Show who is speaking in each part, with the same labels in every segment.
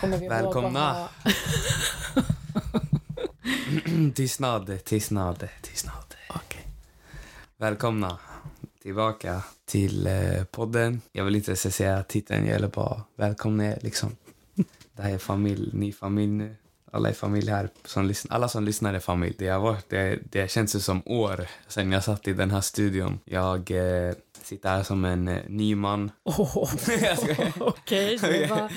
Speaker 1: kommer vi ihåg att
Speaker 2: Välkomna.
Speaker 1: ha-
Speaker 2: Tystnad, tystnad, tystnad.
Speaker 1: Okej.
Speaker 2: Välkomna tillbaka till eh, podden. Jag vill inte ens säga titeln, jag gäller bara välkomna er liksom. Det här är familj, ni är familj nu. Alla är familj här. Som lyssn- alla som lyssnar är familj. Det har, varit, det, det känns ju som år sedan jag satt i den här studion. Jag eh, sitter här som en eh, ny man.
Speaker 1: Åh,
Speaker 2: Jag skojar.
Speaker 1: Okej, det, var,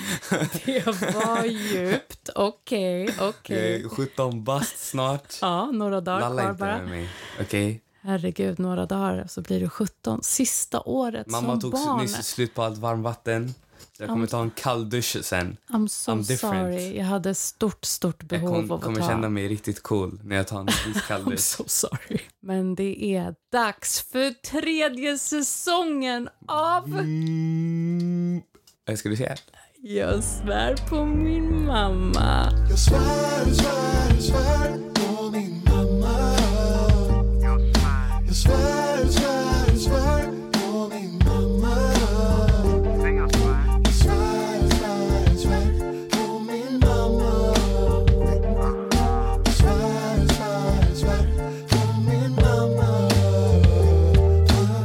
Speaker 1: det var djupt. Okej,
Speaker 2: Jag
Speaker 1: okej.
Speaker 2: är 17 Eh, bast snart.
Speaker 1: Ja, några dagar
Speaker 2: Lalla
Speaker 1: kvar
Speaker 2: inte
Speaker 1: bara.
Speaker 2: med mig. Okej?
Speaker 1: Herregud, några dagar så blir du 17. Sista året
Speaker 2: Mamma
Speaker 1: som
Speaker 2: tog
Speaker 1: barn.
Speaker 2: nyss slut på allt varmvatten. Jag kommer ta en kall dusch sen.
Speaker 1: I'm so
Speaker 2: I'm different.
Speaker 1: sorry. Jag hade stort, stort
Speaker 2: Jag
Speaker 1: behov
Speaker 2: kom,
Speaker 1: av att
Speaker 2: kommer
Speaker 1: ta.
Speaker 2: känna mig riktigt cool när jag tar en iskall
Speaker 1: I'm
Speaker 2: dusch.
Speaker 1: so sorry. Men det är dags för tredje säsongen av
Speaker 2: Mm. Eh, Ska du se?
Speaker 1: Jag svär på min mamma.
Speaker 3: Jag svär, svär, svär på min mamma Jag svär, svär, svär på min mamma Jag svär, svär, svär på min mamma Jag svär, svär, svär på min mamma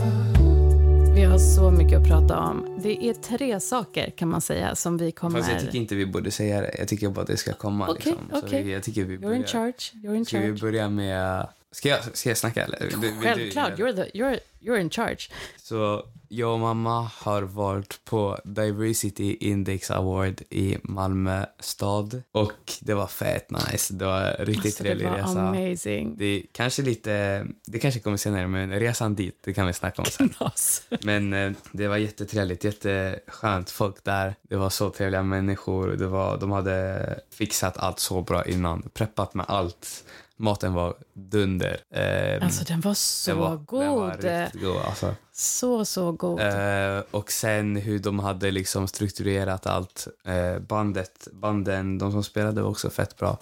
Speaker 1: Vi har så mycket att prata om. Det är tre saker kan man säga som vi kommer...
Speaker 2: Fast jag tycker inte vi borde säga det. Jag tycker bara att det ska komma.
Speaker 1: Okej,
Speaker 2: liksom. Så
Speaker 1: okej.
Speaker 2: vi, jag tycker vi
Speaker 1: You're in
Speaker 2: börjar.
Speaker 1: charge. You're in
Speaker 2: Ska vi
Speaker 1: charge.
Speaker 2: börja med... Ska jag, ska jag snacka eller? Vill du- vill du-
Speaker 1: Självklart, you're, the, you're, you're in charge.
Speaker 2: Så jag och mamma har varit på Diversity Index Award i Malmö stad. Och det var fett nice. Det var en riktigt
Speaker 1: Alltså, det
Speaker 2: trevlig
Speaker 1: var
Speaker 2: resa.
Speaker 1: amazing.
Speaker 2: Det är kanske lite, det kanske kommer senare, men resan dit, det kan vi snacka om sen.
Speaker 1: Knas.
Speaker 2: Men eh, det var jättetrevligt, jätteskönt folk där. Det var så trevliga människor. Det var, de hade fixat allt så bra innan, preppat med allt. Maten var dunder. Eh,
Speaker 1: Alltså den var så
Speaker 2: den var,
Speaker 1: god.
Speaker 2: Den var riktigt god alltså.
Speaker 1: Så, så god.
Speaker 2: Eh, och sen hur de hade liksom strukturerat allt. Eh, bandet, banden, de som spelade var också fett bra.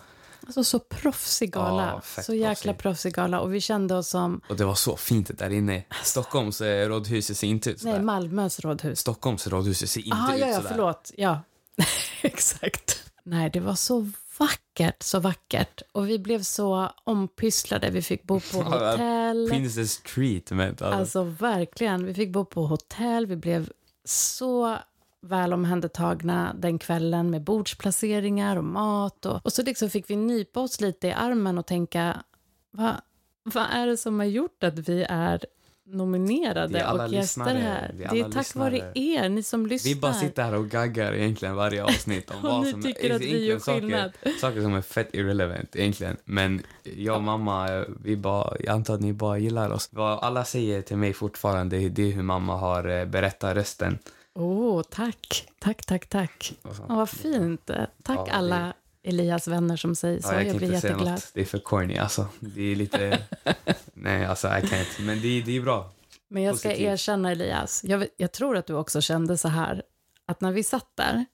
Speaker 1: Alltså så proffsig gala.
Speaker 2: Ja, fett
Speaker 1: så jäkla
Speaker 2: proffsig.
Speaker 1: proffsig gala. Och vi kände oss som,
Speaker 2: Och det var så fint där inne. Stockholms eh, rådhus ser inte ut
Speaker 1: Alltså. nej
Speaker 2: sådär.
Speaker 1: Malmös rådhus.
Speaker 2: Stockholms rådhus ser inte
Speaker 1: Ah,
Speaker 2: ut
Speaker 1: ja, ja,
Speaker 2: sådär.
Speaker 1: förlåt. Ja, exakt. Nej, det var så vackert, så vackert. Och vi blev så ompysslade. Vi fick bo på
Speaker 2: Ja,
Speaker 1: hotell.
Speaker 2: Princess treatment. Alltså.
Speaker 1: Alltså verkligen. Vi fick bo på hotell. Vi blev så väl omhändertagna den kvällen med bordsplaceringar och mat. Och, och så liksom fick vi nypa oss lite i armen och tänka, vad, vad är det som har gjort att vi är
Speaker 2: Det
Speaker 1: nominerade
Speaker 2: är alla
Speaker 1: och gäster
Speaker 2: lyssnare.
Speaker 1: här?
Speaker 2: Det är
Speaker 1: Det är
Speaker 2: alla
Speaker 1: tack vare er, ni som lyssnar.
Speaker 2: vi bara sitter här och gaggar egentligen varje avsnitt om
Speaker 1: Och
Speaker 2: vad
Speaker 1: ni
Speaker 2: som
Speaker 1: tycker att vi
Speaker 2: egentligen
Speaker 1: gör skillnad.
Speaker 2: Saker, saker som är fett irrelevant egentligen. Men jag och mamma, eh, vi bara, jag antar att ni bara gillar oss. Vad alla säger till mig fortfarande, det är hur mamma har eh, berättat rösten.
Speaker 1: Åh, tack. Tack, tack, tack. Ja, vad fint. Tack
Speaker 2: Ja, det-
Speaker 1: alla Elias vänner som säger så.
Speaker 2: Ja, jag
Speaker 1: jag,
Speaker 2: kan
Speaker 1: blir
Speaker 2: inte säga
Speaker 1: jätteglad.
Speaker 2: något. Det är för corny alltså. Det är lite... Nej, alltså I can't. Men det, det är bra.
Speaker 1: Men jag ska
Speaker 2: Positivt.
Speaker 1: erkänna Elias, jag, vet- jag tror att du också kände så här, att när vi satt där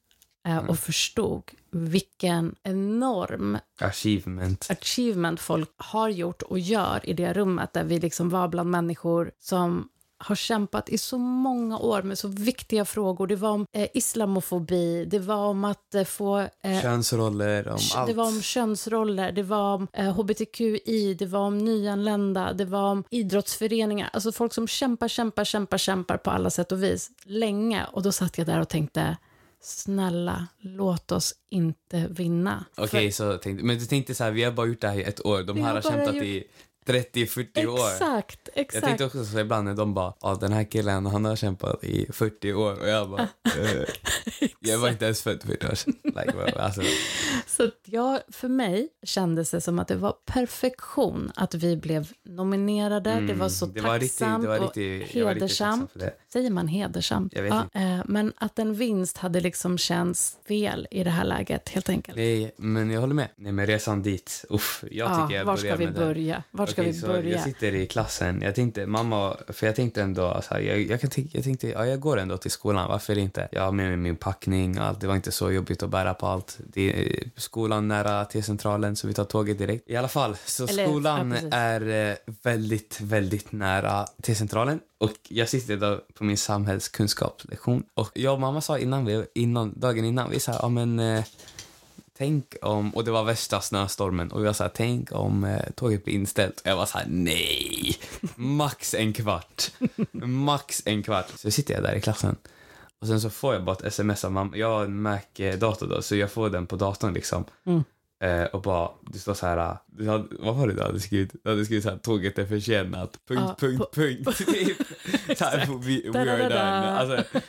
Speaker 1: eh,
Speaker 2: Mm.
Speaker 1: och förstod vilken enorm
Speaker 2: Achievement.
Speaker 1: achievement folk har gjort och gör i det rummet där vi liksom var bland människor som har kämpat i så många år med så viktiga frågor. Det var om eh, islamofobi, det var om att eh, få eh,
Speaker 2: Könsroller, om allt.
Speaker 1: det var om könsroller, det var om eh, hbtqi, det var om nyanlända, det var om idrottsföreningar. Alltså folk som kämpar, kämpar, kämpar, kämpar på alla sätt och vis länge. Och då satt jag där och tänkte, snälla, låt oss inte vinna.
Speaker 2: Okej, så tänkte, men du tänkte så här, vi har bara gjort det här i ett år. De
Speaker 1: Vi
Speaker 2: här
Speaker 1: har
Speaker 2: har
Speaker 1: bara
Speaker 2: kämpat
Speaker 1: gjort-
Speaker 2: i 30-40 år.
Speaker 1: Exakt,
Speaker 2: Jag
Speaker 1: exakt.
Speaker 2: tänkte också så ibland när de bara, ja den här killen han har kämpat i 40 år och jag bara, eh, jag var inte ens född 40 år sedan. Like, well, alltså,
Speaker 1: Så att jag, för mig kändes det som att det var perfektion att vi blev nominerade. det var så
Speaker 2: Mm, det var riktigt- det var
Speaker 1: tacksamt
Speaker 2: riktigt-
Speaker 1: och
Speaker 2: jag var riktigt tacksam
Speaker 1: hedersamt.
Speaker 2: för det.
Speaker 1: Säger man hedersamt?
Speaker 2: Jag vet
Speaker 1: eh, men att en vinst hade liksom känts fel i det här läget, helt enkelt.
Speaker 2: nej, men jag håller med. Nej men resan dit, uff, jag
Speaker 1: Ja,
Speaker 2: tycker jag
Speaker 1: var ska
Speaker 2: börjar
Speaker 1: vi
Speaker 2: med den.
Speaker 1: börja? Var ska
Speaker 2: Okej,
Speaker 1: vi
Speaker 2: så
Speaker 1: börja?
Speaker 2: Jag sitter i klassen. Jag tänkte, mamma, för jag tänkte ändå, så här, jag, jag, kan tänka- jag tänkte, ja, jag går ändå till skolan, varför inte? Jag har med mig min packning och allt, det var inte så jobbigt att bära på allt. Det är skolan nära T-centralen, så vi tar tåget direkt. I alla fall, så
Speaker 1: Eller, ja,
Speaker 2: skolan
Speaker 1: precis.
Speaker 2: är eh, väldigt, väldigt nära T-centralen. Och jag sitter då på min samhällskunskapslektion. Och jag och mamma sa innan vi, innan, dagen innan, vi sa, ja men eh, tänk om, och det var värsta snöstormen, och vi var så här, tänk om eh, tåget blir inställt. Och jag var så här, nej! Max en kvart. Max en kvart. Så sitter jag där i klassen. Och sen så får jag bara ett sms av mamma. Jag har en Mac-dator då, så jag får den på datorn liksom. Eh, och bara, det står så här, eh, du hade, vad var det du hade skrivit? Du hade skrivit så här, tåget är försenat, punkt,
Speaker 1: Ja,
Speaker 2: punkt,
Speaker 1: på-
Speaker 2: punkt. Typ. så här, we, we are
Speaker 1: Da-da-da-da.
Speaker 2: done. Alltså,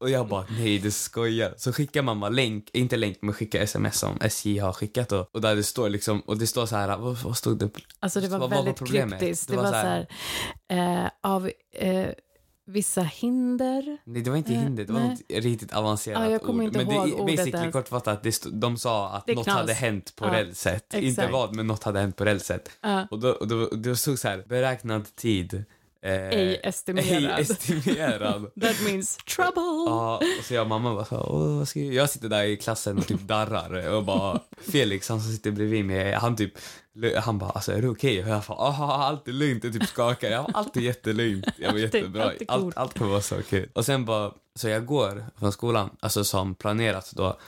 Speaker 2: och jag bara, nej du skojar. Så skickar mamma länk, inte länk, men skickar sms som SJ har skickat och, och där det står liksom, och det står så här, vad, vad stod det?
Speaker 1: Alltså det var
Speaker 2: Vad- vad var
Speaker 1: väldigt
Speaker 2: problemet?
Speaker 1: kryptiskt. Det, var, så här, eh, av eh, vissa hinder.
Speaker 2: Nej, det var inte
Speaker 1: Eh,
Speaker 2: hinder, det var
Speaker 1: nej.
Speaker 2: något riktigt avancerat
Speaker 1: Ja, jag kommer
Speaker 2: ord.
Speaker 1: inte
Speaker 2: men
Speaker 1: ihåg
Speaker 2: det är
Speaker 1: ordet
Speaker 2: basically
Speaker 1: ens.
Speaker 2: kortfattat, det stod, de sa att
Speaker 1: Det är
Speaker 2: något
Speaker 1: knas.
Speaker 2: hade hänt på
Speaker 1: Ja,
Speaker 2: rälset. Inte
Speaker 1: exakt.
Speaker 2: vad, men något hade hänt på rälset.
Speaker 1: Ja.
Speaker 2: Och då, och då, och då stod så här, beräknad tid. Eh,
Speaker 1: Ej estimerad.
Speaker 2: ej estimerad.
Speaker 1: That means trouble.
Speaker 2: Ja, och så jag och mamma bara så här, Åh, vad ska jag? jag sitter där i klassen och typ darrar och bara Felix han som sitter bredvid mig han typ han bara alltså är det okej? Och jag bara aha allt är lugnt och typ skakar jag bara, allt är jättelugnt jag var
Speaker 1: Allt är-
Speaker 2: jättebra
Speaker 1: allt är
Speaker 2: allt,
Speaker 1: coolt.
Speaker 2: allt kommer vara så okej och sen bara så jag går från skolan alltså som planerat då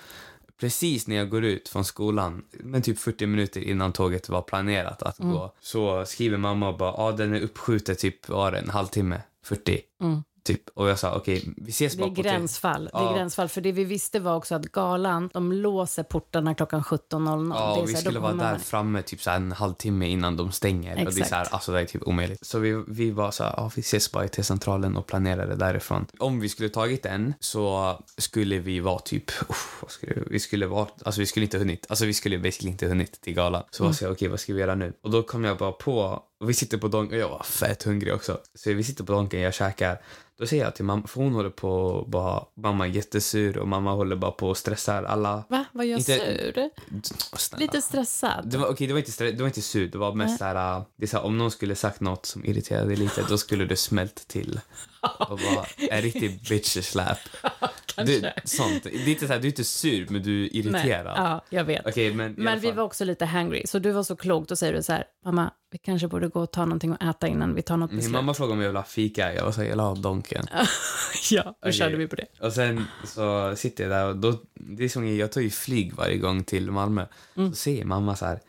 Speaker 2: Precis när jag går ut från skolan, men typ 40 minuter innan tåget var planerat att
Speaker 1: Mm.
Speaker 2: gå, så skriver mamma och bara ah, den är uppskjuten typ var det, en halvtimme, 40.
Speaker 1: Mm.
Speaker 2: Typ. Och jag sa okej, vi ses
Speaker 1: Det är
Speaker 2: bara på hotell."
Speaker 1: gränsfall. Det
Speaker 2: Ja.
Speaker 1: är gränsfall. För det vi visste var också att galan, de låser portarna klockan 17.00.
Speaker 2: Ja,
Speaker 1: det är
Speaker 2: och vi
Speaker 1: så här, då
Speaker 2: skulle vara
Speaker 1: kommer
Speaker 2: där
Speaker 1: man-
Speaker 2: framme typ så här en halvtimme innan de stänger. Och det, är så här,
Speaker 1: Exakt.
Speaker 2: alltså, det är typ omöjligt. Så vi, vi var så här, ja, vi ses bara i T-centralen och planerade därifrån. Om vi skulle tagit en så skulle vi vara typ, uff, vad skulle, vi- vi skulle vara, alltså vi skulle inte hunnit, alltså vi skulle basically inte hunnit till galan. Så
Speaker 1: Mm.
Speaker 2: jag sa okej vad ska vi göra nu? Och då kom jag bara på, och vi sitter på Donken, och jag var fett hungrig också. Så vi sitter på Donken, jag käkar. Då säger jag till mamma, för hon håller på och bara, mamma är jättesur och mamma håller bara på och stressar alla.
Speaker 1: Va? Var jag
Speaker 2: Inte-
Speaker 1: sur?
Speaker 2: Snälla.
Speaker 1: Lite stressad?
Speaker 2: Det var, okej, det, var inte, strä- det var inte sur, det var mest såhär, äh, det är såhär, om någon skulle sagt något som irriterade dig lite, då skulle du smält till. Och bara, en riktig bitch slap. du, sånt. Det är inte såhär, du är inte sur, men du är
Speaker 1: Nej.
Speaker 2: irriterad.
Speaker 1: Ja, jag vet.
Speaker 2: Okej, men, i alla
Speaker 1: Men vi
Speaker 2: fall-
Speaker 1: var också lite hangry, så du var så klok. Då säger du så här, mamma, vi kanske borde gå och ta någonting att äta innan vi tar något
Speaker 2: Min
Speaker 1: beslut.
Speaker 2: mamma frågade om jag ville ha fika, jag var såhär, jag vill ha donken.
Speaker 1: ja, då
Speaker 2: Okej.
Speaker 1: körde vi på det.
Speaker 2: Och sen så sitter jag där och då, det är som jag tar ju flyg varje gång till Malmö.
Speaker 1: Mm.
Speaker 2: Så säger mamma så här,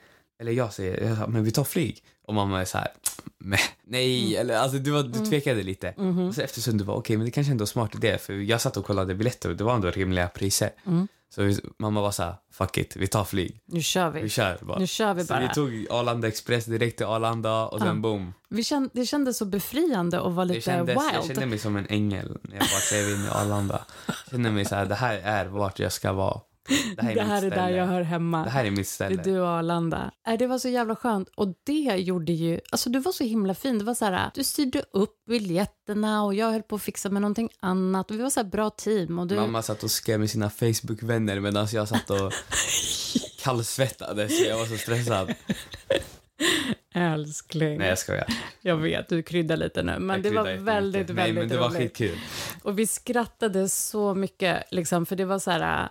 Speaker 2: eller jag säger, jag sa, men vi tar flyg. Och mamma är så här, "Men, nej,
Speaker 1: Mm.
Speaker 2: eller alltså du, var, du tvekade lite.
Speaker 1: Mm-hmm.
Speaker 2: Och så efter du var okej, men det kanske ändå är en smart idé för jag satt och kollade biljetter och det var ändå rimliga priser.
Speaker 1: Mm.
Speaker 2: Så vi, mamma var så här, fuck it, vi tar flyg,
Speaker 1: Nu kör vi.
Speaker 2: vi kör bara.
Speaker 1: Nu kör vi
Speaker 2: så vi
Speaker 1: bara.
Speaker 2: tog Arlanda Express direkt till Arlanda och sen boom.
Speaker 1: Vi kände, det kändes så befriande att vara
Speaker 2: Det
Speaker 1: lite
Speaker 2: kändes, jag
Speaker 1: wild.
Speaker 2: kände mig som en ängel när jag bara klev in i Arlanda. Jag kände mig så här, det här är vart jag ska vara. Det här är,
Speaker 1: det
Speaker 2: mitt
Speaker 1: här är
Speaker 2: ställe.
Speaker 1: där jag hör hemma.
Speaker 2: Det här är mitt
Speaker 1: Det är
Speaker 2: ställe.
Speaker 1: du och Arlanda. Äh, Det var så jävla skönt. Och det gjorde ju... Alltså du var så himla fin. Det var så här, du styrde upp biljetterna och jag höll på att fixa med någonting annat. Och vi var så här bra team. Och du...
Speaker 2: Mamma satt och skrev med sina Facebook-vänner medan jag satt och kallsvettades. Jag var så stressad.
Speaker 1: Älskling.
Speaker 2: Nej, jag skojar.
Speaker 1: Jag vet, du kryddar lite nu. Men
Speaker 2: Jag
Speaker 1: det var
Speaker 2: kryddar
Speaker 1: väldigt,
Speaker 2: jättemycket. Nej,
Speaker 1: väldigt
Speaker 2: men det var
Speaker 1: roligt.
Speaker 2: skitkul.
Speaker 1: Och vi skrattade så mycket, liksom, för det var så här... äh,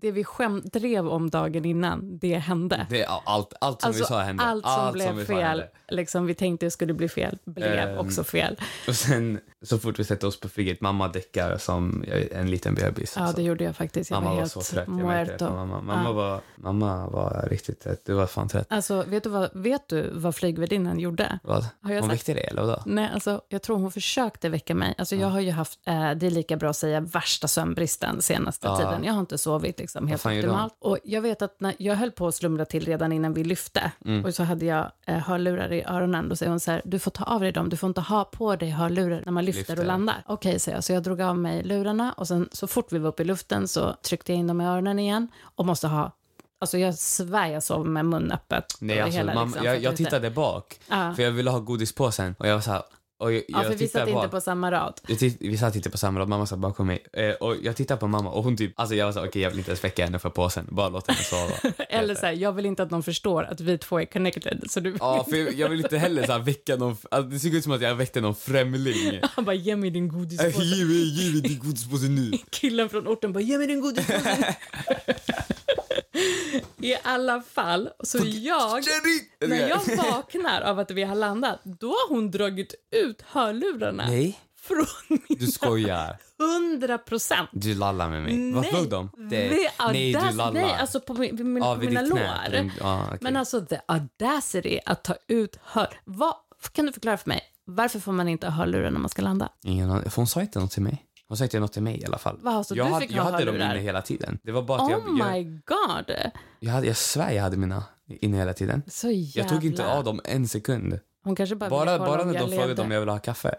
Speaker 1: Det vi skämt drev om dagen innan, det hände.
Speaker 2: Det, ja, allt, allt som
Speaker 1: Alltså,
Speaker 2: vi sa hände.
Speaker 1: allt som blev
Speaker 2: vi sa
Speaker 1: fel,
Speaker 2: hände.
Speaker 1: liksom, vi tänkte det skulle bli fel, blev
Speaker 2: Ehm,
Speaker 1: också fel.
Speaker 2: Och sen så fort vi sätter oss på flyget, mamma däckar som en liten bebis.
Speaker 1: Ja,
Speaker 2: Så-
Speaker 1: det gjorde jag faktiskt. Jag
Speaker 2: alltså.
Speaker 1: var
Speaker 2: mamma var
Speaker 1: helt
Speaker 2: så trött. Jag märkte det
Speaker 1: muerto.
Speaker 2: på mamma. Mamma,
Speaker 1: Ja.
Speaker 2: var, mamma var riktigt trött. Du var fan trött.
Speaker 1: Alltså, vet du vad, vet du vad flygvärdinnan gjorde?
Speaker 2: Vad?
Speaker 1: Har jag
Speaker 2: Hon
Speaker 1: sagt-
Speaker 2: väckte dig eller vadå?
Speaker 1: Nej, alltså, jag tror hon försökte väcka mig. Alltså, Jag har ju haft, eh, det är lika bra att säga, värsta sömnbristen senaste
Speaker 2: Ja.
Speaker 1: tiden. Jag har inte sovit liksom, helt
Speaker 2: fan gör du?
Speaker 1: optimalt. Och jag vet att när jag höll på att slumra till redan innan vi lyfte
Speaker 2: Mm.
Speaker 1: och så hade jag eh, hörlurar i öronen. Då säger hon så här, du får ta av dig dem, du får inte ha på dig hörlurar när man lyfter,
Speaker 2: Lyfter.
Speaker 1: och landar. Okej, säger jag. Så jag drog av mig lurarna och sen så fort vi var uppe i luften så tryckte jag in dem i öronen igen och måste ha Alltså jag svär jag sov med mun öppet.
Speaker 2: Nej,
Speaker 1: över
Speaker 2: alltså,
Speaker 1: hela,
Speaker 2: mamma,
Speaker 1: liksom, för
Speaker 2: jag,
Speaker 1: att
Speaker 2: jag
Speaker 1: inte-
Speaker 2: tittade bak
Speaker 1: Ja.
Speaker 2: för jag ville ha godispåsen och jag var så här, och jag,
Speaker 1: Ja, för
Speaker 2: jag
Speaker 1: vi satt
Speaker 2: tittade
Speaker 1: inte
Speaker 2: bak.
Speaker 1: på samma rad.
Speaker 2: Jag titt, vi satt inte på samma rad, mamma satt bakom mig. Eh, och jag tittade på mamma och hon typ, alltså jag var så här, okej jag vill inte ens väcka henne för påsen, bara låt henne sova.
Speaker 1: Eller så här, jag vill inte att någon förstår att vi två är connected. Så du
Speaker 2: Ja, för jag, jag vill inte heller så här, väcka någon, alltså, det såg ut som att jag väckte någon främling.
Speaker 1: Han bara, ge mig din
Speaker 2: Eh,
Speaker 1: godispåse.
Speaker 2: Ge mig, ge mig din godispåse nu.
Speaker 1: Killen från orten bara, ge mig din godispåse. I alla fall, så jag,
Speaker 2: Jerry!
Speaker 1: när jag vaknar av att vi har landat, då har hon dragit ut hörlurarna.
Speaker 2: Nej.
Speaker 1: från
Speaker 2: Du skojar.
Speaker 1: 100 procent.
Speaker 2: Du lallar med mig. Vad tog de? Det-
Speaker 1: the
Speaker 2: nej, du
Speaker 1: audacity-
Speaker 2: lallar.
Speaker 1: Nej, alltså på, min, min,
Speaker 2: Ja,
Speaker 1: på
Speaker 2: vid
Speaker 1: mina
Speaker 2: ditt knä.
Speaker 1: lår.
Speaker 2: Den- ja, okej.
Speaker 1: Men alltså the audacity att ta ut hör... Vad, kan du förklara för mig, varför får man inte ha hörlurar när man ska landa?
Speaker 2: Ingen aning. För hon sa inte något till mig. Hon sa inte något till mig i alla fall.
Speaker 1: Vad, så
Speaker 2: jag
Speaker 1: du
Speaker 2: hade,
Speaker 1: fick
Speaker 2: jag
Speaker 1: ha
Speaker 2: hade dem
Speaker 1: hörlurar?
Speaker 2: inne hela tiden. Det var bara att
Speaker 1: Oh
Speaker 2: jag, jag,
Speaker 1: my god!
Speaker 2: jag, hade, jag svär jag hade mina inne hela tiden.
Speaker 1: Så jävla...
Speaker 2: Jag tog inte av dem en sekund.
Speaker 1: Hon kanske bara, ville
Speaker 2: Bara,
Speaker 1: kolla
Speaker 2: bara
Speaker 1: om
Speaker 2: när
Speaker 1: jag
Speaker 2: de frågade
Speaker 1: levde.
Speaker 2: om jag ville ha kaffe.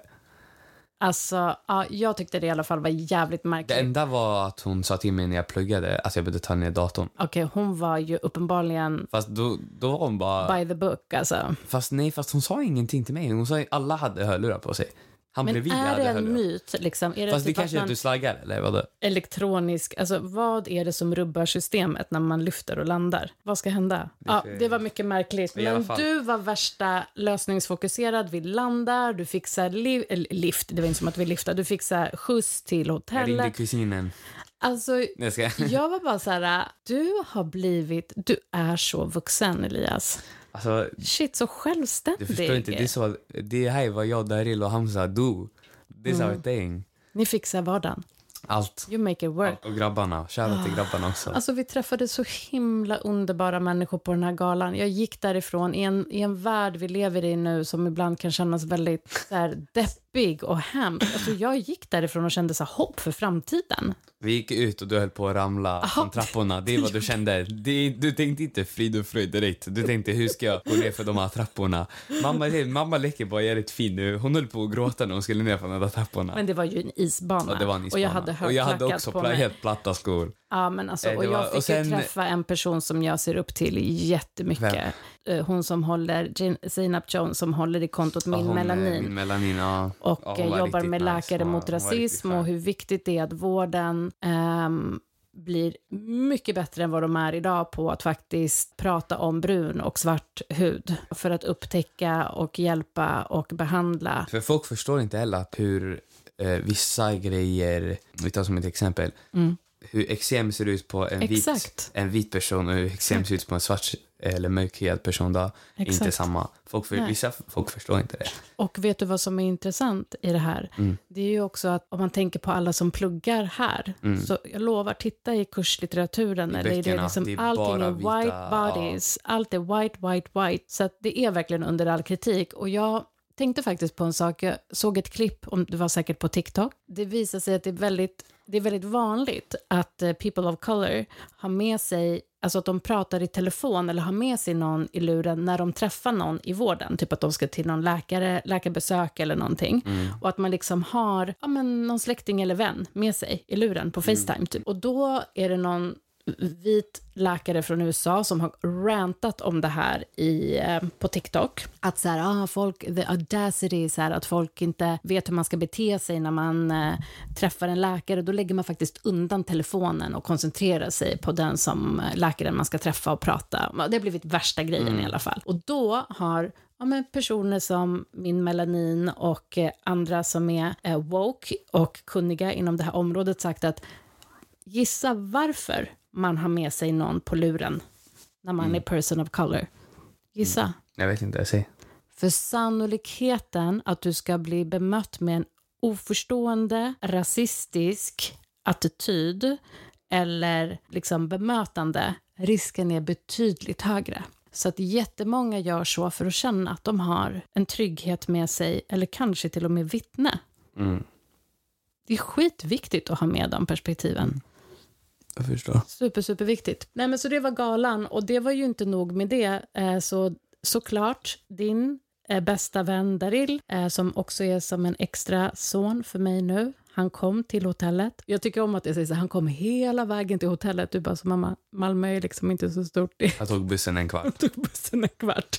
Speaker 1: Alltså, ja, jag tyckte det i alla fall var jävligt
Speaker 2: Det
Speaker 1: märkligt.
Speaker 2: enda var att hon sa till mig när jag pluggade att jag behövde ta ner datorn.
Speaker 1: Okej, hon var ju uppenbarligen
Speaker 2: Fast då, då var hon bara...
Speaker 1: by the book alltså.
Speaker 2: Fast nej, fast hon sa ingenting till mig. Hon sa att alla hade hörlurar på sig. Han
Speaker 1: Men
Speaker 2: bredvid
Speaker 1: är
Speaker 2: hade
Speaker 1: det en
Speaker 2: hörlurar.
Speaker 1: myt liksom? Är det
Speaker 2: Fast det
Speaker 1: typ att
Speaker 2: kanske är
Speaker 1: man
Speaker 2: att du slaggar eller vadå?
Speaker 1: elektronisk, alltså vad är det som rubbar systemet när man lyfter och landar? Vad ska hända? Ja,
Speaker 2: får jag-
Speaker 1: det var mycket märkligt.
Speaker 2: I alla
Speaker 1: Men
Speaker 2: fall.
Speaker 1: du var värsta lösningsfokuserad, vi landar, du fixar li- eller lift, det var inte som att vi lyftade, du fixar skjuts till
Speaker 2: Jag ringde
Speaker 1: hotellet.
Speaker 2: kusinen.
Speaker 1: Alltså,
Speaker 2: Nej, Jag ska...
Speaker 1: jag var bara så här, äh, du har blivit, du är så vuxen Elias.
Speaker 2: Alltså,
Speaker 1: Shit, så
Speaker 2: du
Speaker 1: självständig.
Speaker 2: förstår inte. Det, är så, det här var jag, Daryl och Hamza do. This
Speaker 1: Mm.
Speaker 2: our thing.
Speaker 1: Ni fixar vardagen.
Speaker 2: Allt.
Speaker 1: You make it work.
Speaker 2: Allt. Och grabbarna. Shoutout till grabbarna också.
Speaker 1: Alltså vi träffade så himla underbara människor på den här galan. Jag gick därifrån i en, i en värld vi lever i nu som ibland kan kännas väldigt så här, deppig och hemsk. Alltså jag gick därifrån och kände så här, hopp för framtiden.
Speaker 2: Vi gick ut och du höll på att ramla från trapporna. Det är vad du kände. Det, du tänkte inte frid och fröjd direkt. Du tänkte hur ska jag gå ner för de här trapporna? Mamma, mamma leker bara jävligt fin nu. Hon höll på att gråta när hon skulle ner för de där trapporna.
Speaker 1: Men det var ju en isbana.
Speaker 2: Ja, det var en
Speaker 1: Och jag
Speaker 2: isbana.
Speaker 1: hade
Speaker 2: och jag hade
Speaker 1: högklackat
Speaker 2: också
Speaker 1: på
Speaker 2: pla-
Speaker 1: mig.
Speaker 2: helt platta skor.
Speaker 1: Ja, men alltså,
Speaker 2: Eh, det
Speaker 1: och jag
Speaker 2: var-
Speaker 1: fick
Speaker 2: och sen-
Speaker 1: ju träffa en person som jag ser upp till jättemycket. Eh, Hon som håller, Jane- Zainab Jones, som håller i kontot Min
Speaker 2: Ja, hon, eh,
Speaker 1: Melanin.
Speaker 2: Min melanin, ja.
Speaker 1: och
Speaker 2: Ja, hon
Speaker 1: eh,
Speaker 2: var
Speaker 1: jobbar
Speaker 2: riktigt
Speaker 1: med
Speaker 2: nice.
Speaker 1: Läkare
Speaker 2: Hon var-
Speaker 1: mot
Speaker 2: hon var riktigt
Speaker 1: rasism
Speaker 2: skön.
Speaker 1: och hur viktigt det är att vården ehm, blir mycket bättre än vad de är idag på att faktiskt prata om brun och svart hud för att upptäcka och hjälpa och behandla.
Speaker 2: För folk förstår inte heller att hur eh, vissa grejer, vi tar som ett exempel, hur eksem ser ut på en vit,
Speaker 1: Mm. Exakt.
Speaker 2: en vit person och hur eksem ser ut på en svart eller mörkhyad person då, är inte
Speaker 1: Exakt.
Speaker 2: samma. Folk för,
Speaker 1: Nej.
Speaker 2: vissa folk förstår inte det.
Speaker 1: Och vet du vad som är intressant i det här?
Speaker 2: Mm.
Speaker 1: Det är ju också att om man tänker på alla som pluggar här, så jag lovar, titta i kurslitteraturen, eller i det
Speaker 2: Mm. böckerna,
Speaker 1: liksom,
Speaker 2: det är
Speaker 1: allting
Speaker 2: bara
Speaker 1: är
Speaker 2: vita,
Speaker 1: white bodies, allt är white, white, white. Så att det är verkligen under all kritik. Och jag tänkte faktiskt på en sak, jag såg ett klipp, om det var säkert på TikTok, det visar sig att det är väldigt, det är väldigt vanligt att eh, people of color har med sig Alltså att de pratar i telefon eller har med sig någon i luren när de träffar någon i vården. Typ att de ska till någon läkare, läkarbesök eller någonting. Och att man liksom har ja, men någon släkting eller vän med sig i luren på Facetime. Typ. Och då är det någon vit läkare från USA som har rantat om det här i, eh, på TikTok. Att så här, ah, folk, the audacity, så här, att folk inte vet hur man ska bete sig när man eh, träffar en läkare. Då lägger man faktiskt undan telefonen och koncentrerar sig på den som eh, läkaren man ska träffa och prata. Det har blivit värsta grejen i alla fall. Och då har ja, men personer som min melanin och eh, andra som är eh, woke och kunniga inom det här området sagt att Gissa varför man har med sig någon på luren när man är person of color. Gissa.
Speaker 2: Jag vet inte, säg.
Speaker 1: För sannolikheten att du ska bli bemött med en oförstående, rasistisk attityd eller liksom bemötande, risken är betydligt högre. Så att jättemånga gör så för att känna att de har en trygghet med sig eller kanske till och med vittne.
Speaker 2: Mm.
Speaker 1: Det är skitviktigt att ha med de perspektiven.
Speaker 2: Jag förstår.
Speaker 1: Super, superviktigt. Nej, men så det var galan och det var ju inte nog med det. Eh, så såklart din eh, bästa vän Daril, eh, som också är som en extra son för mig nu. Han kom till hotellet. Jag tycker om att jag säger så här, han kom hela vägen till hotellet. Du bara, så mamma, Malmö är liksom inte så stort. Det
Speaker 2: Jag tog bussen en kvart.
Speaker 1: tog bussen en kvart.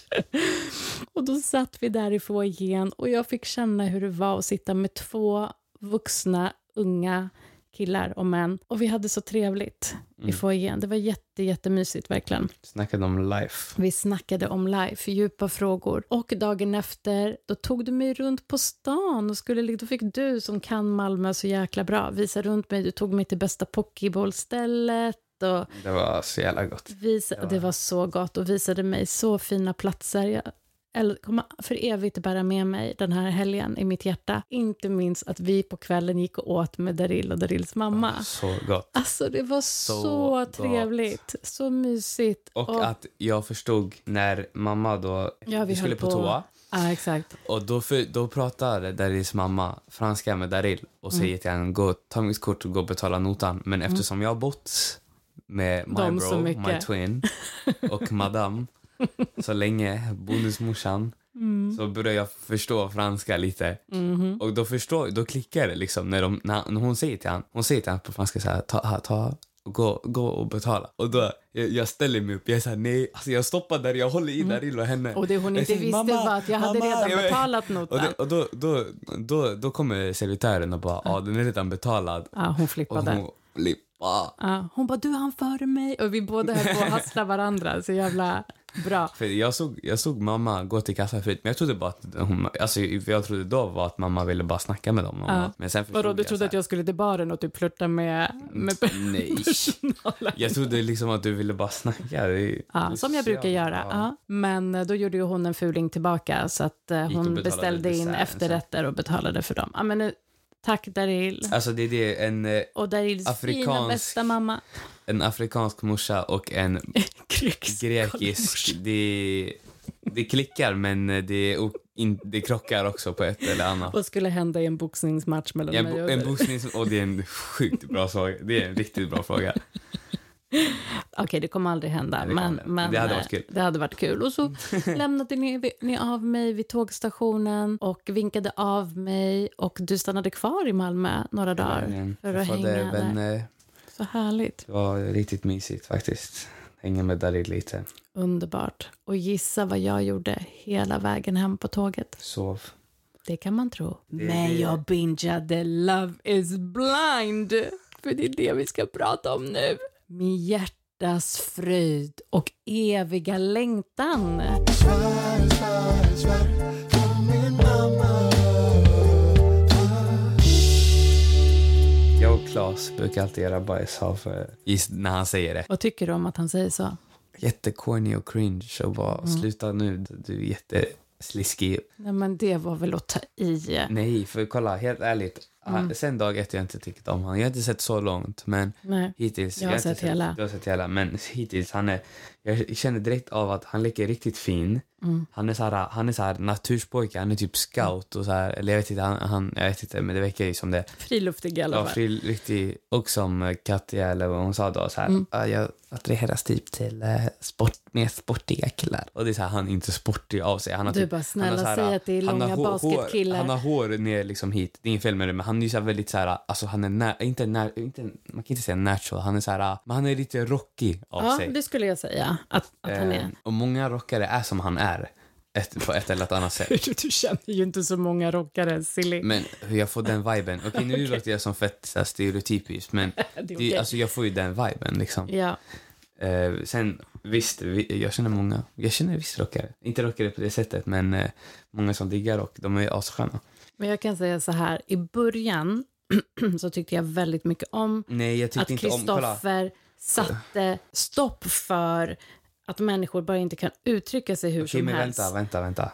Speaker 1: Och då satt vi där i foajén och jag fick känna hur det var att sitta med två vuxna, unga killar och män. Och vi hade så trevligt i foajén. Det var jätte, jättemysigt verkligen.
Speaker 2: Snackade om life.
Speaker 1: Vi snackade om life, djupa frågor. Och dagen efter, då tog du mig runt på stan och skulle, li- då fick du som kan Malmö så jäkla bra visa runt mig. Du tog mig till bästa pokébollstället och
Speaker 2: Det var så jävla gott.
Speaker 1: Visa, det, var... det var så gott och visade mig så fina platser. Jag äl- kommer för evigt bära med mig den här helgen i mitt hjärta. Inte minst att vi på kvällen gick och åt med Daril och Darils mamma.
Speaker 2: Så gott.
Speaker 1: Alltså det var så,
Speaker 2: Så gott.
Speaker 1: trevligt, så mysigt.
Speaker 2: Och att jag förstod när mamma då...
Speaker 1: Ja, vi höll
Speaker 2: skulle på,
Speaker 1: på.
Speaker 2: toa.
Speaker 1: Ja, exakt.
Speaker 2: Och då, för, då pratar Darils mamma franska med Daril och säger
Speaker 1: Mm.
Speaker 2: till henne gå, ta mitt kort och gå och betala notan. Men eftersom jag har bott med my
Speaker 1: Dem Mm. så
Speaker 2: bro,
Speaker 1: mycket.
Speaker 2: my twin och madame så länge, bonusmorsan,
Speaker 1: Mm.
Speaker 2: så börjar jag förstå franska lite.
Speaker 1: Mm-hmm.
Speaker 2: Och då, förstår, då klickar det liksom när, de, när, när hon säger till honom, hon säger till honom på franska så här, ta, här, ta och Gå, gå och betala. Och då, jag, jag ställer mig upp. Jag säger nej. Alltså jag stoppar där, jag håller i Daril och henne.
Speaker 1: Mm. Och det hon
Speaker 2: Jag
Speaker 1: inte
Speaker 2: säger,
Speaker 1: visste
Speaker 2: "Mamma,
Speaker 1: var att jag hade
Speaker 2: mamma."
Speaker 1: redan
Speaker 2: Jag vet.
Speaker 1: betalat
Speaker 2: Och,
Speaker 1: notan.
Speaker 2: det, och då, då, då, då kommer servitören och bara, ja ah, den är redan betalad.
Speaker 1: Ja, hon
Speaker 2: Och
Speaker 1: flippade.
Speaker 2: hon lippa.
Speaker 1: Ja, hon bara, du han före mig. Och vi båda höll på att hassla varandra. Så jävla bra.
Speaker 2: För jag såg, jag såg mamma gå till kassan förut, men jag trodde bara att hon, alltså jag trodde då var att mamma ville bara snacka med dem.
Speaker 1: Ja.
Speaker 2: Men sen förstod
Speaker 1: Vadå, du
Speaker 2: jag så
Speaker 1: trodde
Speaker 2: här, Mm.
Speaker 1: att jag skulle till baren och typ flirta med, med per-
Speaker 2: Nej.
Speaker 1: personalen?
Speaker 2: Jag trodde liksom att du ville bara snacka. Det är- det är
Speaker 1: Ja, som jag brukar
Speaker 2: socialt.
Speaker 1: göra.
Speaker 2: Ja.
Speaker 1: Ja. Men eh, då gjorde ju hon en fuling tillbaka så att eh,
Speaker 2: och
Speaker 1: hon
Speaker 2: betalade
Speaker 1: beställde in
Speaker 2: desserten sen.
Speaker 1: efterrätter och betalade för dem. Ja, men, eh, tack Daril.
Speaker 2: Alltså det är det, en, eh,
Speaker 1: Och Darils fina
Speaker 2: Afrikansk-
Speaker 1: bästa mamma.
Speaker 2: en afrikansk morsa och en
Speaker 1: Kryx.
Speaker 2: grekisk, det, det klickar men det, är o- in, det krockar också på ett eller annat
Speaker 1: Vad skulle hända i en boxningsmatch mellan
Speaker 2: En,
Speaker 1: mig
Speaker 2: bo-
Speaker 1: och
Speaker 2: en
Speaker 1: Daril?
Speaker 2: boxning som, och det är en sjukt bra fråga. Det är en riktigt bra fråga.
Speaker 1: Okej, det kommer aldrig hända.
Speaker 2: Nej, det
Speaker 1: men,
Speaker 2: kommer aldrig.
Speaker 1: men
Speaker 2: Det hade
Speaker 1: eh,
Speaker 2: varit kul.
Speaker 1: Det hade varit kul. Och så lämnade ni, ni av mig vid tågstationen och vinkade av mig och du stannade kvar i Malmö några dagar för
Speaker 2: Jag
Speaker 1: att hänga
Speaker 2: träffade
Speaker 1: där.
Speaker 2: vänner.
Speaker 1: Så härligt.
Speaker 2: Det var riktigt mysigt faktiskt. Hänga med Darid lite.
Speaker 1: Underbart. Och gissa vad jag gjorde hela vägen hem på tåget.
Speaker 2: Sov.
Speaker 1: Det kan man tro.
Speaker 2: Det-
Speaker 1: Men
Speaker 2: det-
Speaker 1: jag bingeade Love is blind. För det är det vi ska prata om nu. Min hjärtas fröjd och eviga längtan.
Speaker 3: svär, svär, svär på min mamma.
Speaker 2: Jag och Claes brukar alltid göra bajs av för, is- eh, när han säger det.
Speaker 1: Vad tycker du om att han säger så?
Speaker 2: Jättecorny och cringe och bara
Speaker 1: Mm.
Speaker 2: sluta nu, du är jättesliskig.
Speaker 1: Nej, men det var väl att ta i.
Speaker 2: Nej, för kolla, helt ärligt.
Speaker 1: Mm.
Speaker 2: Han, sen dag ett har jag inte tyckt om honom. Jag har inte sett så långt, men
Speaker 1: Nej.
Speaker 2: hittills...
Speaker 1: Jag har
Speaker 2: inte
Speaker 1: sett hela.
Speaker 2: Du har sett hela, men hittills han är... Jag känner direkt av att han leker riktigt fin.
Speaker 1: Mm.
Speaker 2: Han är så här, han är så här naturspojke, han är typ scout och så här, eller jag vet inte, han, han, jag vet inte men det verkar ju som det.
Speaker 1: Friluftig i alla
Speaker 2: Ja,
Speaker 1: fall.
Speaker 2: fri, riktigt, och som Katja, eller vad hon sa då, så här,
Speaker 1: Mm.
Speaker 2: "Ja, jag attraheras typ till eh, sport, mer sportiga killar. Och det är så här, han är inte sportig av sig. Han har
Speaker 1: Du
Speaker 2: typ,
Speaker 1: bara,
Speaker 2: han har
Speaker 1: "Snälla,
Speaker 2: så här,
Speaker 1: säg att det är
Speaker 2: han har
Speaker 1: långa
Speaker 2: hår- hår-
Speaker 1: basketkillar."
Speaker 2: Han har hår ner liksom hit, det är inget fel med det, men han är ju så här väldigt så här, alltså han är när, inte när, inte, man kan inte säga natural, han är så här, men han är lite rockig av
Speaker 1: Ja,
Speaker 2: sig.
Speaker 1: det skulle jag säga att, att han
Speaker 2: Eh,
Speaker 1: är.
Speaker 2: och många rockare är som han är, ett, på ett eller annat sätt.
Speaker 1: Du känner ju inte så många rockare, silly.
Speaker 2: Men hur jag får den viben. Okej, nu låter jag som fett så här, stereotypiskt, men
Speaker 1: är
Speaker 2: det,
Speaker 1: okej.
Speaker 2: alltså, jag får ju den viben. Liksom.
Speaker 1: Ja.
Speaker 2: Eh, sen visst, vi, jag känner många. Jag känner visst rockare. Inte rockare på det sättet, men eh, många som diggar rock. De är ju assköna.
Speaker 1: Men jag kan säga så här, i början så tyckte jag väldigt mycket om
Speaker 2: Nej, jag
Speaker 1: att
Speaker 2: tyckte inte om... Kolla.
Speaker 1: Kristoffer satte stopp för att människor bara inte kan uttrycka sig hur
Speaker 2: Okej,
Speaker 1: som
Speaker 2: men
Speaker 1: helst.
Speaker 2: vänta, vänta, vänta.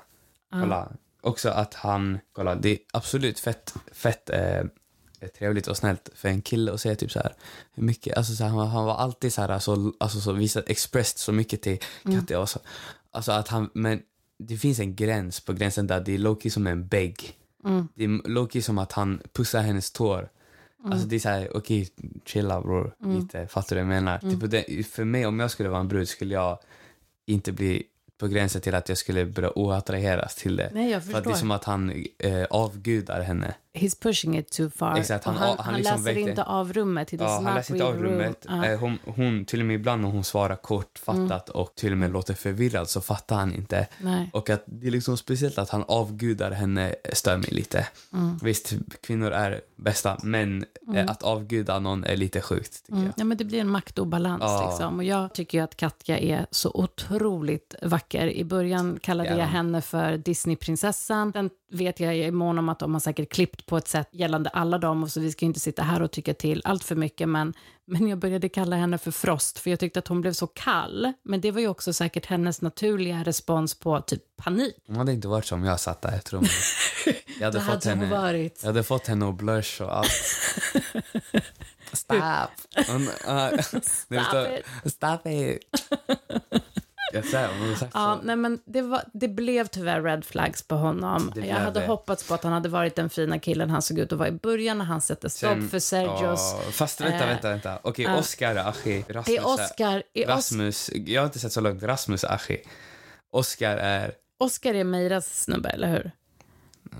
Speaker 2: Kolla. Också att han... Kolla, det är absolut fett, fett eh, trevligt och snällt för en kille att säga typ så här... Hur mycket... Alltså så här, han, var- han var alltid så här... Alltså, alltså så visat, expressed så mycket till
Speaker 1: Mm.
Speaker 2: Katja. Och så, alltså att han... Men det finns en gräns på gränsen där det är Loki som en bägg. Det är Loki som att han pussar hennes tår.
Speaker 1: Mm.
Speaker 2: Alltså det är såhär, okej chilla bror, lite, fattar du vad jag menar?
Speaker 1: Mm.
Speaker 2: Typ, det, för mig om jag skulle vara en brud skulle jag inte bli på gränsen till att jag skulle börja oattraheras till det.
Speaker 1: Nej, jag
Speaker 2: För att det är
Speaker 1: förstår.
Speaker 2: som att han eh, avgudar henne.
Speaker 1: He's pushing it too far.
Speaker 2: Exakt, han-
Speaker 1: Och han,
Speaker 2: han liksom
Speaker 1: läser
Speaker 2: väckte-
Speaker 1: inte av rummet. He does
Speaker 2: Ja, han
Speaker 1: not
Speaker 2: läser inte av
Speaker 1: read room.
Speaker 2: rummet.
Speaker 1: Ja. Mm.
Speaker 2: Eh, hon, hon, till och med ibland när hon svarar kortfattat och till och med låter förvirrad så fattar han inte.
Speaker 1: Nej.
Speaker 2: Och att det är liksom speciellt att han avgudar henne stör mig lite.
Speaker 1: Mm.
Speaker 2: Visst, kvinnor är bästa, men eh, att avguda någon är lite sjukt tycker
Speaker 1: Mm. Ja, men det blir en maktobalans.
Speaker 2: Ja.
Speaker 1: Liksom. Och jag tycker ju att Katja är så otroligt vacker. I början kallade
Speaker 2: Ja.
Speaker 1: jag henne för Disneyprinsessan. Sen vet jag, jag är mån om att de har säkert klippt sagt på ett sätt gällande alla dem, och så vi ska inte sitta här och tycka till allt för mycket, men, men jag började kalla henne för Frost, för jag tyckte att hon blev så kall. Men det var ju också säkert hennes naturliga respons på typ panik.
Speaker 2: Hon hade inte varit som jag satt där, tror jag. Jag hade,
Speaker 1: Vad
Speaker 2: fått
Speaker 1: hade hon
Speaker 2: henne,
Speaker 1: varit?
Speaker 2: jag hade fått henne att blush och allt. Stop! Hon, uh,
Speaker 1: Stop it.
Speaker 2: Stop it! Jag säger, hon hade sagt
Speaker 1: Ja,
Speaker 2: så.
Speaker 1: nej, men det, var, det blev tyvärr red flags på honom.
Speaker 2: Det
Speaker 1: jag
Speaker 2: blev
Speaker 1: hade
Speaker 2: det.
Speaker 1: hoppats på att han hade varit den fina killen han såg ut att vara i början när han sätter stopp
Speaker 2: Sen-
Speaker 1: för Sergios.
Speaker 2: Ja, fast vänta,
Speaker 1: eh,
Speaker 2: vänta, vänta. Okej,
Speaker 1: ja.
Speaker 2: Oscar Achi.
Speaker 1: Det
Speaker 2: Rasmus,
Speaker 1: är Oscar. Är Os-
Speaker 2: Rasmus. Jag har inte sett så långt. Rasmus Achi. Oscar är...
Speaker 1: Oscar är Meiras snubbe, eller hur?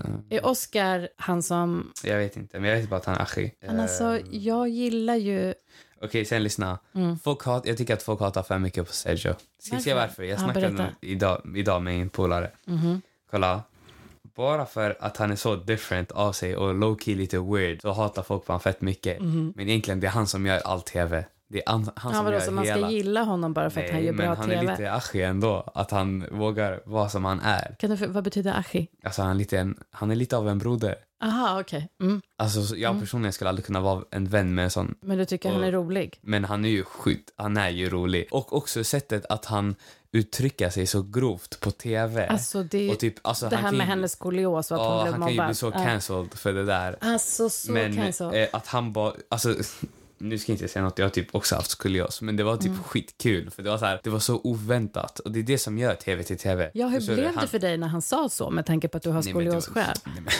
Speaker 2: Mm.
Speaker 1: Är Oscar han som...
Speaker 2: Jag vet inte, men jag vet bara att han är Achi.
Speaker 1: Men alltså,
Speaker 2: Eh.
Speaker 1: jag gillar ju...
Speaker 2: Okej, sen lyssna. Folk hat, jag tycker att folk hatar för mycket på Sergio. Ska jag säga
Speaker 1: Mm. Varför?
Speaker 2: varför? Jag
Speaker 1: Ja,
Speaker 2: snackade
Speaker 1: berätta. Mm-hmm.
Speaker 2: med, idag, idag med en polare. Kolla. Bara för att han är så different av sig och low-key lite weird så hatar folk på honom fett mycket.
Speaker 1: Mm-hmm.
Speaker 2: Men egentligen det är han som gör all tv. Det är han, han
Speaker 1: Han
Speaker 2: som
Speaker 1: var då
Speaker 2: gör
Speaker 1: som man
Speaker 2: hela.
Speaker 1: ska gilla honom bara för att han
Speaker 2: Nej,
Speaker 1: gör
Speaker 2: men
Speaker 1: bra
Speaker 2: han
Speaker 1: tv.
Speaker 2: är lite aschi ändå. Att han vågar vara som han är.
Speaker 1: Kan du, för- vad betyder achi?
Speaker 2: Alltså han är lite, en, han är lite av en broder.
Speaker 1: Aha, okej. Mm.
Speaker 2: Alltså så jag personligen skulle aldrig kunna vara en vän med en sån
Speaker 1: Men du tycker
Speaker 2: Och-
Speaker 1: han är rolig?
Speaker 2: Men han är ju skit, han är ju rolig. Och också sättet att han uttrycker sig så grovt på tv.
Speaker 1: Alltså, det,
Speaker 2: och typ, alltså,
Speaker 1: det
Speaker 2: han
Speaker 1: här
Speaker 2: kan
Speaker 1: med
Speaker 2: ju-
Speaker 1: hennes skolios och att
Speaker 2: ja,
Speaker 1: hon blev
Speaker 2: han kan ju
Speaker 1: mobbad.
Speaker 2: bli så
Speaker 1: Ja.
Speaker 2: cancelled för det där.
Speaker 1: Alltså, så
Speaker 2: men
Speaker 1: cancel.
Speaker 2: eh, att han bara, alltså nu ska jag inte säga något, jag har typ också haft skolios, men det var
Speaker 1: Mm.
Speaker 2: typ skitkul för det var så här, det var så oväntat och det är det som gör tv till tv.
Speaker 1: Ja, hur
Speaker 2: Förstår du?
Speaker 1: blev
Speaker 2: Han-
Speaker 1: det för dig när han sa så med tanke på att du har
Speaker 2: Nej, men det var-
Speaker 1: skolios själv?
Speaker 2: nej, men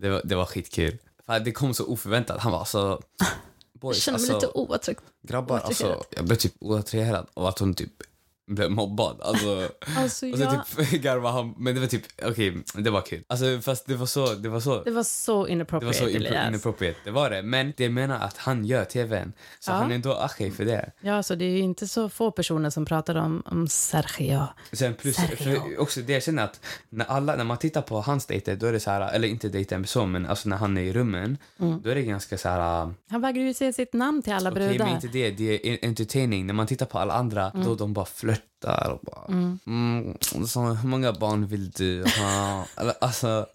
Speaker 2: Det var, det var skitkul. För det kom så oförväntat, han var alltså... Boys,
Speaker 1: Jag känner mig
Speaker 2: alltså,
Speaker 1: lite oattrakt.
Speaker 2: Grabbar,
Speaker 1: Oattraherad.
Speaker 2: alltså, jag blev typ oattraherad av att hon typ blev mobbad. Alltså,
Speaker 1: Alltså,
Speaker 2: och så
Speaker 1: jag,
Speaker 2: typ garvade han, men det var typ, okej, det var kul. Alltså fast det var så, det var så,
Speaker 1: Det var så
Speaker 2: det var
Speaker 1: inappropriate,
Speaker 2: så
Speaker 1: Elias.
Speaker 2: inapro- inappropriate, det var det. Men det jag menar är att han gör tvn, så
Speaker 1: Ja.
Speaker 2: han är ändå achi för det.
Speaker 1: Ja, alltså, det är ju inte så få personer som pratar om, om Sergio.
Speaker 2: Sen plus,
Speaker 1: Sergio.
Speaker 2: för också det jag känner att när, alla, när man tittar på hans dejter, då är det så här, eller inte dejter men så, men alltså när han är i rummen,
Speaker 1: Mm.
Speaker 2: då är det ganska så här,
Speaker 1: Han vägrar ju säga sitt namn till alla
Speaker 2: Okej,
Speaker 1: brudar. Mm.
Speaker 2: men inte det. Det är en- entertaining. När man tittar på alla andra, då de bara flörtar och bara... Mm. så, hur många barn vill du ha? Eller, alltså...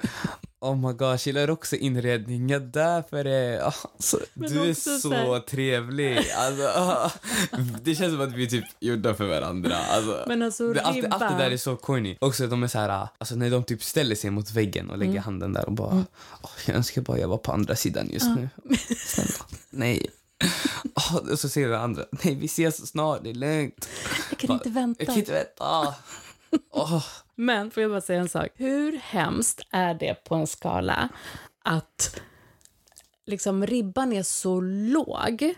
Speaker 2: Oh my gosh, gillar också inredning. Jag dör för det. Alltså, du är
Speaker 1: också
Speaker 2: så,
Speaker 1: så här-
Speaker 2: trevlig. Alltså, ah, det känns som att vi är typ gjorda för varandra. Alltså,
Speaker 1: Men alltså,
Speaker 2: det, allt, allt det
Speaker 1: ribban.
Speaker 2: där är så corny. Också de är så här, ah, alltså, när de typ ställer sig mot väggen och lägger
Speaker 1: Mm.
Speaker 2: handen där och bara... "Åh, jag önskar bara jag var på andra sidan just nu. Snälla, nej. Ah, Och så säger den andra, nej vi ses snart, det är lugnt.
Speaker 1: Jag kan inte vänta.
Speaker 2: Jag kan inte vänta. Åh,
Speaker 1: Men får jag bara säga en sak? Hur hemskt är det på en skala att liksom ribban är så låg,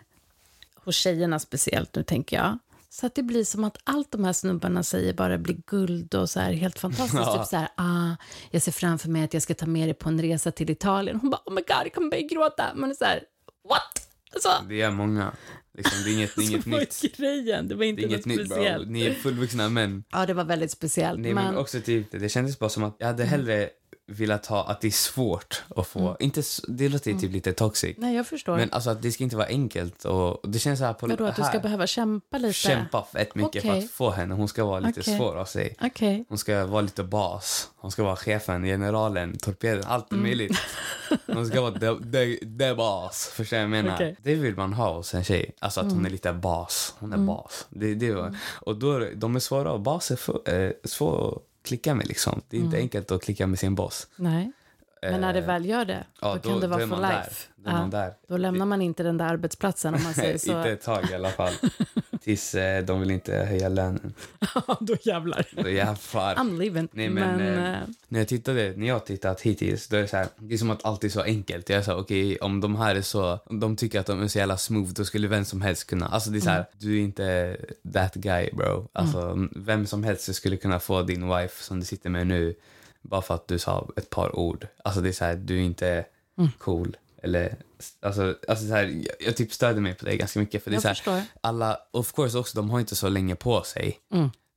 Speaker 1: hos tjejerna speciellt nu tänker jag, så att det blir som att allt de här snubbarna säger bara blir guld och så här helt fantastiskt.
Speaker 2: Ja.
Speaker 1: Typ så här, ah, jag ser framför mig att jag ska ta med dig på en resa till Italien. Hon bara, oh my god, jag kommer börja gråta. Man är så här, what? Alltså,
Speaker 2: Det är många. Liksom, det är inget, det är inget
Speaker 1: så var
Speaker 2: nytt.
Speaker 1: grejen? Det var
Speaker 2: Det
Speaker 1: inte
Speaker 2: är
Speaker 1: något
Speaker 2: inget nytt bro.
Speaker 1: speciellt.
Speaker 2: Ni är fullvuxna män.
Speaker 1: Ja, det var väldigt speciellt.
Speaker 2: Nej, men också typ, det kändes bara som att jag hade
Speaker 1: Mm.
Speaker 2: hellre velat ha att det är svårt att få, inte, s- det låter
Speaker 1: Mm.
Speaker 2: ju typ lite toxic.
Speaker 1: nej jag förstår.
Speaker 2: Men alltså att det ska inte vara enkelt och, och det känns så här på
Speaker 1: Vadå, att du
Speaker 2: här,
Speaker 1: ska behöva kämpa lite?
Speaker 2: kämpa fett mycket för
Speaker 1: Okej.
Speaker 2: att få henne. Hon ska vara lite
Speaker 1: Okej.
Speaker 2: svår av sig.
Speaker 1: Okej.
Speaker 2: Hon ska vara lite bas. Hon ska vara chefen, generalen, torpeden, allt
Speaker 1: Mm.
Speaker 2: möjligt. Hon ska vara the, the, the bas. Förstår jag vad jag menar?
Speaker 1: Okej. Mm.
Speaker 2: Det vill man ha hos en tjej. Alltså att hon är lite bas. Hon är bas. Det, det var. Och då, är det- de är svåra och bas är för, eh, svår att klicka med liksom. Det är inte
Speaker 1: Mm.
Speaker 2: enkelt att klicka med sin boss.
Speaker 1: Nej. Men när det väl gör det,
Speaker 2: Eh, ja,
Speaker 1: då,
Speaker 2: då-
Speaker 1: kan det
Speaker 2: då
Speaker 1: vara
Speaker 2: är
Speaker 1: for
Speaker 2: man där.
Speaker 1: life.
Speaker 2: Då är man
Speaker 1: Ja.
Speaker 2: där.
Speaker 1: Då lämnar man inte den där arbetsplatsen om man säger så.
Speaker 2: inte ett tag i alla fall. Tills eh, de vill inte höja lönen.
Speaker 1: ja, då jävlar.
Speaker 2: Då jävlar.
Speaker 1: I'm leaving.
Speaker 2: Nej, men, eh,
Speaker 1: eh,
Speaker 2: När jag tittade, när jag har tittat hittills, då är det så här, det är som att allt är så enkelt. Jag är så här, okej, om de här är så, om de tycker att de är så jävla smooth, då skulle vem som helst kunna, alltså det är så
Speaker 1: Mm.
Speaker 2: här, du är inte that guy bro. Alltså vem som helst skulle kunna få din wife som du sitter med nu, bara för att du sa ett par ord. Alltså det är så här, du är inte
Speaker 1: Mm.
Speaker 2: cool. Eller, alltså, alltså så här, jag, jag typ stöder mig på det ganska mycket. För det är
Speaker 1: Jag
Speaker 2: så
Speaker 1: förstår.
Speaker 2: här, alla, of course också, de har inte så länge på sig.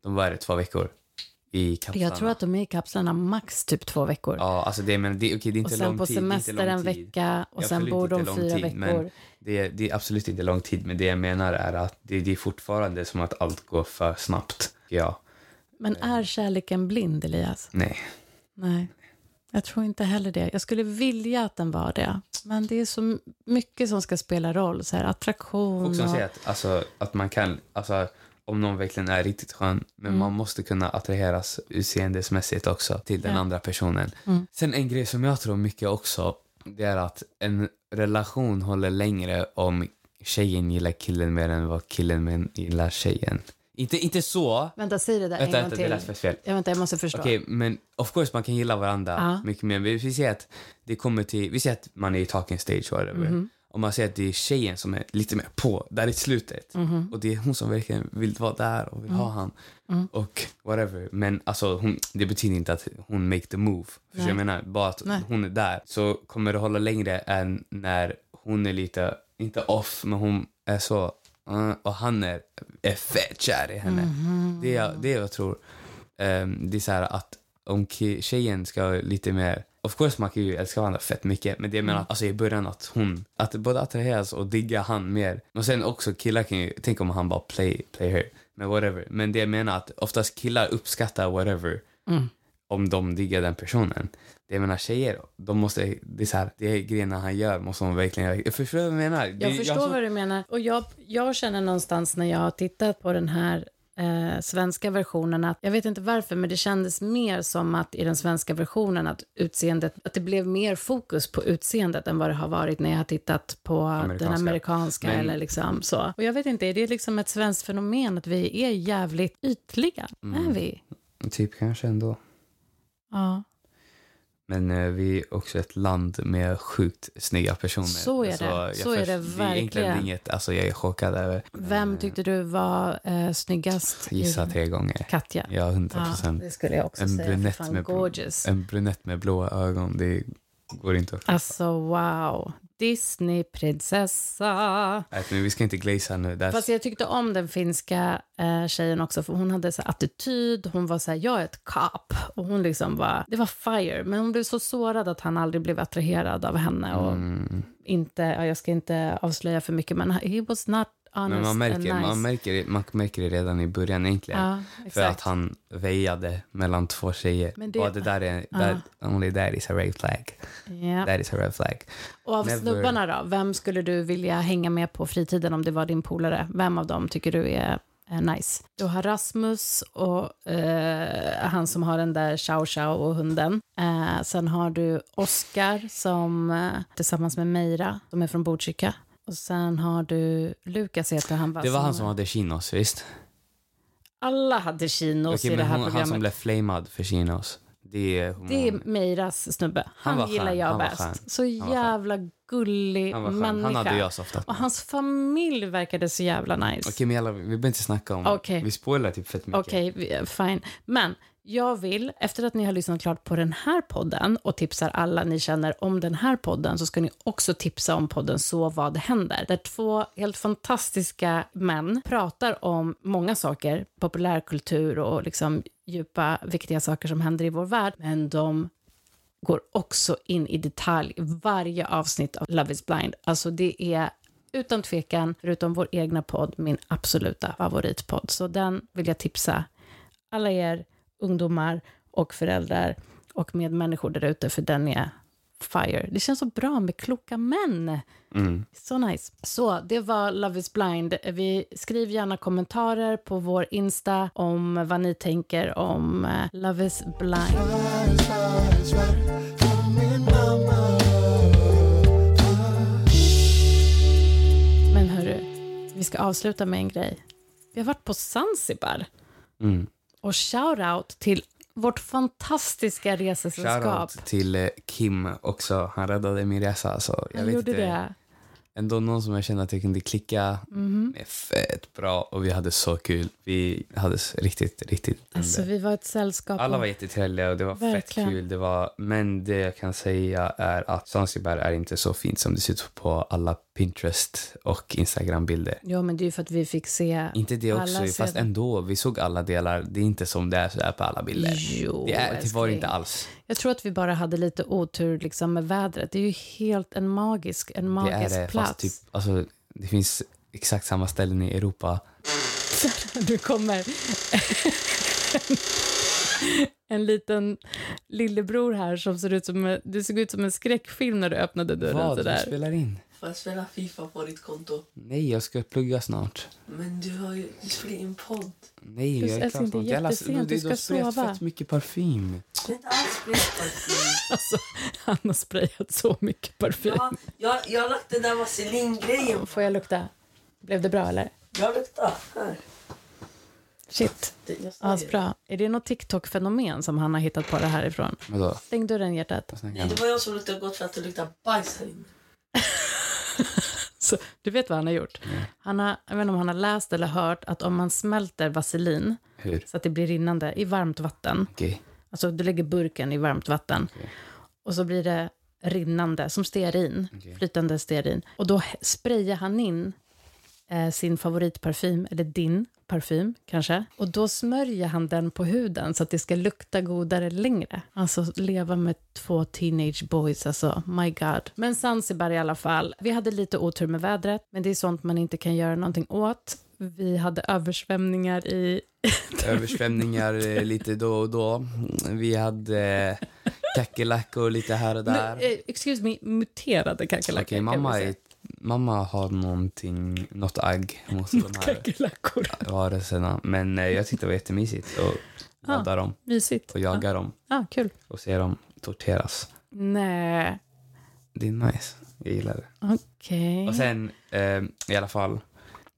Speaker 2: De var det två veckor i kapslarna.
Speaker 1: Mm. jag tror att de är i kapslarna max typ två veckor.
Speaker 2: Ja, alltså det, men det, okay, det är
Speaker 1: och
Speaker 2: inte
Speaker 1: sen
Speaker 2: lång
Speaker 1: på
Speaker 2: tid. det är inte
Speaker 1: semester
Speaker 2: lång
Speaker 1: en
Speaker 2: tid.
Speaker 1: vecka och
Speaker 2: Det är
Speaker 1: sen
Speaker 2: absolut
Speaker 1: bor de
Speaker 2: inte lång
Speaker 1: fyra
Speaker 2: tid,
Speaker 1: veckor.
Speaker 2: Men det, är, det är absolut inte lång tid, men det jag menar är att det, det är fortfarande som att allt går för snabbt. Ja, eh.
Speaker 1: Men är kärleken blind, Elias?
Speaker 2: nej.
Speaker 1: Nej. Jag tror inte heller det. Jag skulle vilja att den var det. Men det är så mycket som ska spela roll. Så här, attraktion
Speaker 2: Och som säger att, alltså, att man kan, alltså, om någon verkligen är riktigt skön, men
Speaker 1: Mm.
Speaker 2: man måste kunna attraheras utseendemässigt också till den
Speaker 1: Ja.
Speaker 2: andra personen.
Speaker 1: Mm.
Speaker 2: Sen en grej som jag tror mycket också, det är att en relation håller längre om tjejen gillar killen mer än vad killen men gillar tjejen. Inte, inte så,
Speaker 1: Vänta, säg det där
Speaker 2: vänta,
Speaker 1: en gång
Speaker 2: vänta, det lät
Speaker 1: till.
Speaker 2: för fel.
Speaker 1: Jag, vänta, jag måste förstå.
Speaker 2: Okej, men of course man kan gilla varandra
Speaker 1: Ja.
Speaker 2: mycket mer. Men vi säger att det kommer till, vi säger att man är i talking stage whatever.
Speaker 1: Mhm.
Speaker 2: Och man säger att det är tjejen som är lite mer på, där i slutet.
Speaker 1: Mhm.
Speaker 2: Och det är hon som verkligen vill vara där och vill
Speaker 1: Mm.
Speaker 2: ha han. Och whatever. Men alltså hon, det betyder inte att hon make the move. För
Speaker 1: Nej.
Speaker 2: jag menar, bara att
Speaker 1: Nej.
Speaker 2: hon är där så kommer det hålla längre än när hon är lite, inte off, men hon är så, "Ah", och han är, är fett kär i henne.
Speaker 1: Mhm.
Speaker 2: Det, är, det är jag tror. Ehm, det är så här att om ki- tjejen ska lite mer... Of course man kan ju älska varandra fett mycket men det jag menar
Speaker 1: Mm.
Speaker 2: alltså i början att hon... Att både attraheras och digga han mer. Och sen också killar kan ju... Tänk om han bara play, play her. Men whatever. Men det jag menar att oftast killar uppskattar whatever
Speaker 1: Mm.
Speaker 2: om de diggar den personen. Det jag menar tjejer, de måste... Det är så här, det är grejerna han gör måste hon verkligen... göra. Jag förstår vad jag menar. Det,
Speaker 1: Jag förstår vad du menar. Och jag, jag känner någonstans när jag har tittat på den här eh, svenska versionen att, jag vet inte varför, men det kändes mer som att i den svenska versionen att utseendet, att det blev mer fokus på utseendet än vad det har varit när jag har tittat på den amerikanska
Speaker 2: Men-
Speaker 1: eller liksom så. Och jag vet inte, är det liksom ett svenskt fenomen att vi är jävligt ytliga?
Speaker 2: Mm.
Speaker 1: Är vi?
Speaker 2: Typ kanske ändå.
Speaker 1: Ja,
Speaker 2: Men eh, vi är också ett land med sjukt snygga personer.
Speaker 1: Så är det.
Speaker 2: jag
Speaker 1: Så är det
Speaker 2: Det är egentligen
Speaker 1: verkligen.
Speaker 2: inget, alltså jag är chockad över.
Speaker 1: Vem tyckte du var eh, snyggast? i-
Speaker 2: Eh. Gissa tre gånger.
Speaker 1: Katja.
Speaker 2: Ja, hundra procent.
Speaker 1: det skulle jag också
Speaker 2: En
Speaker 1: säga. För
Speaker 2: brunett
Speaker 1: fan,
Speaker 2: med blå-
Speaker 1: gorgeous.
Speaker 2: En brunett med blåa ögon, det går inte att...
Speaker 1: Alltså wow, Disneyprinsessa.
Speaker 2: Nej, Äh, Men vi ska inte glaza nu. That's...
Speaker 1: Fast jag tyckte om den finska eh, tjejen också, för hon hade så här attityd, hon var så här, jag är ett kap. Och hon liksom var, det var fire, men hon blev så sårad att han aldrig blev attraherad av henne. Och
Speaker 2: Mm.
Speaker 1: inte, ja, jag ska inte avslöja för mycket, men he was not honest
Speaker 2: Men man märker,
Speaker 1: and nice.
Speaker 2: man, märker, det- man märker det redan i början egentligen.
Speaker 1: ja,
Speaker 2: För
Speaker 1: exakt.
Speaker 2: att han väjade mellan två tjejer.
Speaker 1: Men det-
Speaker 2: det, och det där är...
Speaker 1: Ja.
Speaker 2: That, only that is a red flag.
Speaker 1: Ja.
Speaker 2: That is a red flag.
Speaker 1: Och av
Speaker 2: Never.
Speaker 1: snubbarna då, vem skulle du vilja hänga med på fritiden om det var din polare? Vem av dem tycker du är eh, nice? Du har Rasmus och eh, han som har den där Chow Chow och hunden. Eh, sen har du Oskar som eh, tillsammans med Meira, som är från Botkyrka. Och sen har du Lukas heter han va?
Speaker 2: Det var han som hade chinos, visst?
Speaker 1: Alla hade chinos
Speaker 2: Okej,
Speaker 1: i det
Speaker 2: men
Speaker 1: här
Speaker 2: hon, han
Speaker 1: programmet.
Speaker 2: som blev flamad för chinos. Det är, hon,
Speaker 1: Det är Meiras snubbe.
Speaker 2: Han
Speaker 1: Han,
Speaker 2: var
Speaker 1: gillar
Speaker 2: skön,
Speaker 1: jag
Speaker 2: han var skön,
Speaker 1: bäst. Så
Speaker 2: var skön.
Speaker 1: jävla gullig
Speaker 2: han var skön.
Speaker 1: människa.
Speaker 2: Han hade jag softat
Speaker 1: Och
Speaker 2: med.
Speaker 1: hans familj verkade så jävla nice.
Speaker 2: Okej, men jävlar, vi behöver inte snacka om...
Speaker 1: Okej.
Speaker 2: Vi spoilar typ fett mycket.
Speaker 1: Okej, vi- fine. Men jag vill, efter att ni har lyssnat klart på den här podden och tipsar alla ni känner om den här podden så ska ni också tipsa om podden Så vad händer? Där två helt fantastiska män pratar om många saker, populärkultur och liksom djupa, viktiga saker som händer i vår värld. Men de går också in i detalj i varje avsnitt av Love is blind. Alltså det är utan tvekan, förutom vår egna podd, min absoluta favoritpodd. Så den vill jag tipsa alla er ungdomar och föräldrar och medmänniskor där ute, för den är fire. Det känns så bra med kloka män.
Speaker 2: Mm.
Speaker 1: Så nice. Så det var Love is blind. Vi skriv gärna kommentarer på vår Insta om vad ni tänker om eh, Love is blind. Men hörru, vi ska avsluta med en grej. Vi har varit på Zanzibar.
Speaker 2: Mm.
Speaker 1: Och shout-out till vårt fantastiska resesällskap.
Speaker 2: Shoutout till eh, Kim också. Han räddade min resa. Alltså, jag
Speaker 1: Han
Speaker 2: vet
Speaker 1: gjorde
Speaker 2: inte.
Speaker 1: det.
Speaker 2: Ändå någon som jag kände att jag kunde klicka
Speaker 1: Mhm.
Speaker 2: med fett bra och vi hade så kul. Vi hade s- riktigt, riktigt
Speaker 1: Alltså, vi var ett sällskap.
Speaker 2: Alla
Speaker 1: av-
Speaker 2: var jättetrevliga och det var
Speaker 1: Verkligen.
Speaker 2: fett kul. Det var, men det jag kan säga är att Zanzibar är inte så fint som det ser ut på alla Pinterest och Instagram-bilder.
Speaker 1: Ja, men det är ju för att vi fick se...
Speaker 2: Inte det
Speaker 1: Alla
Speaker 2: också,
Speaker 1: ser
Speaker 2: fast
Speaker 1: det.
Speaker 2: ändå. Vi såg alla delar. Det är inte som det är sådär på alla bilder.
Speaker 1: Jo,
Speaker 2: det, är, det var det
Speaker 1: älskling.
Speaker 2: inte alls.
Speaker 1: Jag tror att vi bara hade lite otur liksom, med vädret. Det är ju helt en magisk, en
Speaker 2: Det är
Speaker 1: magisk
Speaker 2: det,
Speaker 1: plats.
Speaker 2: fast typ, alltså, det finns exakt samma ställen i Europa.
Speaker 1: Nu kommer en liten lillebror här som ser ut som, du såg ut som en skräckfilm när du öppnade dörren
Speaker 2: Vad? Du
Speaker 1: sådär.
Speaker 2: spelar in?
Speaker 4: Får jag spela Fifa på ditt konto?
Speaker 2: Nej, jag ska plugga snart.
Speaker 4: Men du har ju... Du spelar in podd.
Speaker 2: Nej,
Speaker 1: Du
Speaker 2: jag är
Speaker 1: älskling,
Speaker 2: klar
Speaker 1: det är
Speaker 2: snart. Jävla-
Speaker 1: jättesent,
Speaker 2: det-
Speaker 1: du
Speaker 2: det har
Speaker 1: ska
Speaker 2: sprejat
Speaker 1: sova.
Speaker 2: fett mycket parfym.
Speaker 4: Det är inte alls sprit.
Speaker 1: Alltså, han har sprayat så mycket parfym.
Speaker 4: Jag, jag, jag har lagt den där vaselingrejen.
Speaker 1: Får jag lukta? Blev det bra eller?
Speaker 4: Jag luktar. Här.
Speaker 1: Shit,
Speaker 4: Det- jag ser det.
Speaker 1: asbra. Är det något TikTok-fenomen som han har hittat på det härifrån?
Speaker 2: Vadå?
Speaker 1: Stäng dörren hjärtat.
Speaker 2: Vad snackar
Speaker 4: Nej,
Speaker 2: han
Speaker 4: det
Speaker 2: om?
Speaker 4: var jag som luktade gott för att det luktar bajs här inne.
Speaker 1: Så, du vet vad han har gjort? Han har, jag vet inte om han har läst eller hört att om man smälter vaselin
Speaker 2: Hur?
Speaker 1: så att det blir rinnande i varmt vatten,
Speaker 2: Okej.
Speaker 1: alltså du lägger burken i varmt vatten
Speaker 2: Okej.
Speaker 1: och så blir det rinnande, som stearin,
Speaker 2: Okej.
Speaker 1: flytande stearin. Och då he- sprayar han in eh, sin favoritparfym, eller din parfym kanske, och då smörjer han den på huden så att det ska lukta godare längre. Alltså leva med två teenage boys, alltså my god. Men Zanzibar i alla fall, vi hade lite otur med vädret, men det är sånt man inte kan göra någonting åt. Vi hade översvämningar i
Speaker 2: Översvämningar eh, lite då och då. Vi hade eh, kackerlackor lite här och där.
Speaker 1: Men, eh, excuse me, muterade kackerlackor.
Speaker 2: Okej, mamma, är, mamma har någonting, något agg mot de här
Speaker 1: Kackerlackor.
Speaker 2: varelserna. Men eh, jag tyckte det var jättemysigt att
Speaker 1: Ah.
Speaker 2: ladda dem
Speaker 1: Mysigt.
Speaker 2: och jaga dem
Speaker 1: Ah, kul.
Speaker 2: och se dem torteras.
Speaker 1: Nej,
Speaker 2: Det är nice. Jag gillar det.
Speaker 1: okej.
Speaker 2: Och sen, eh, i alla fall.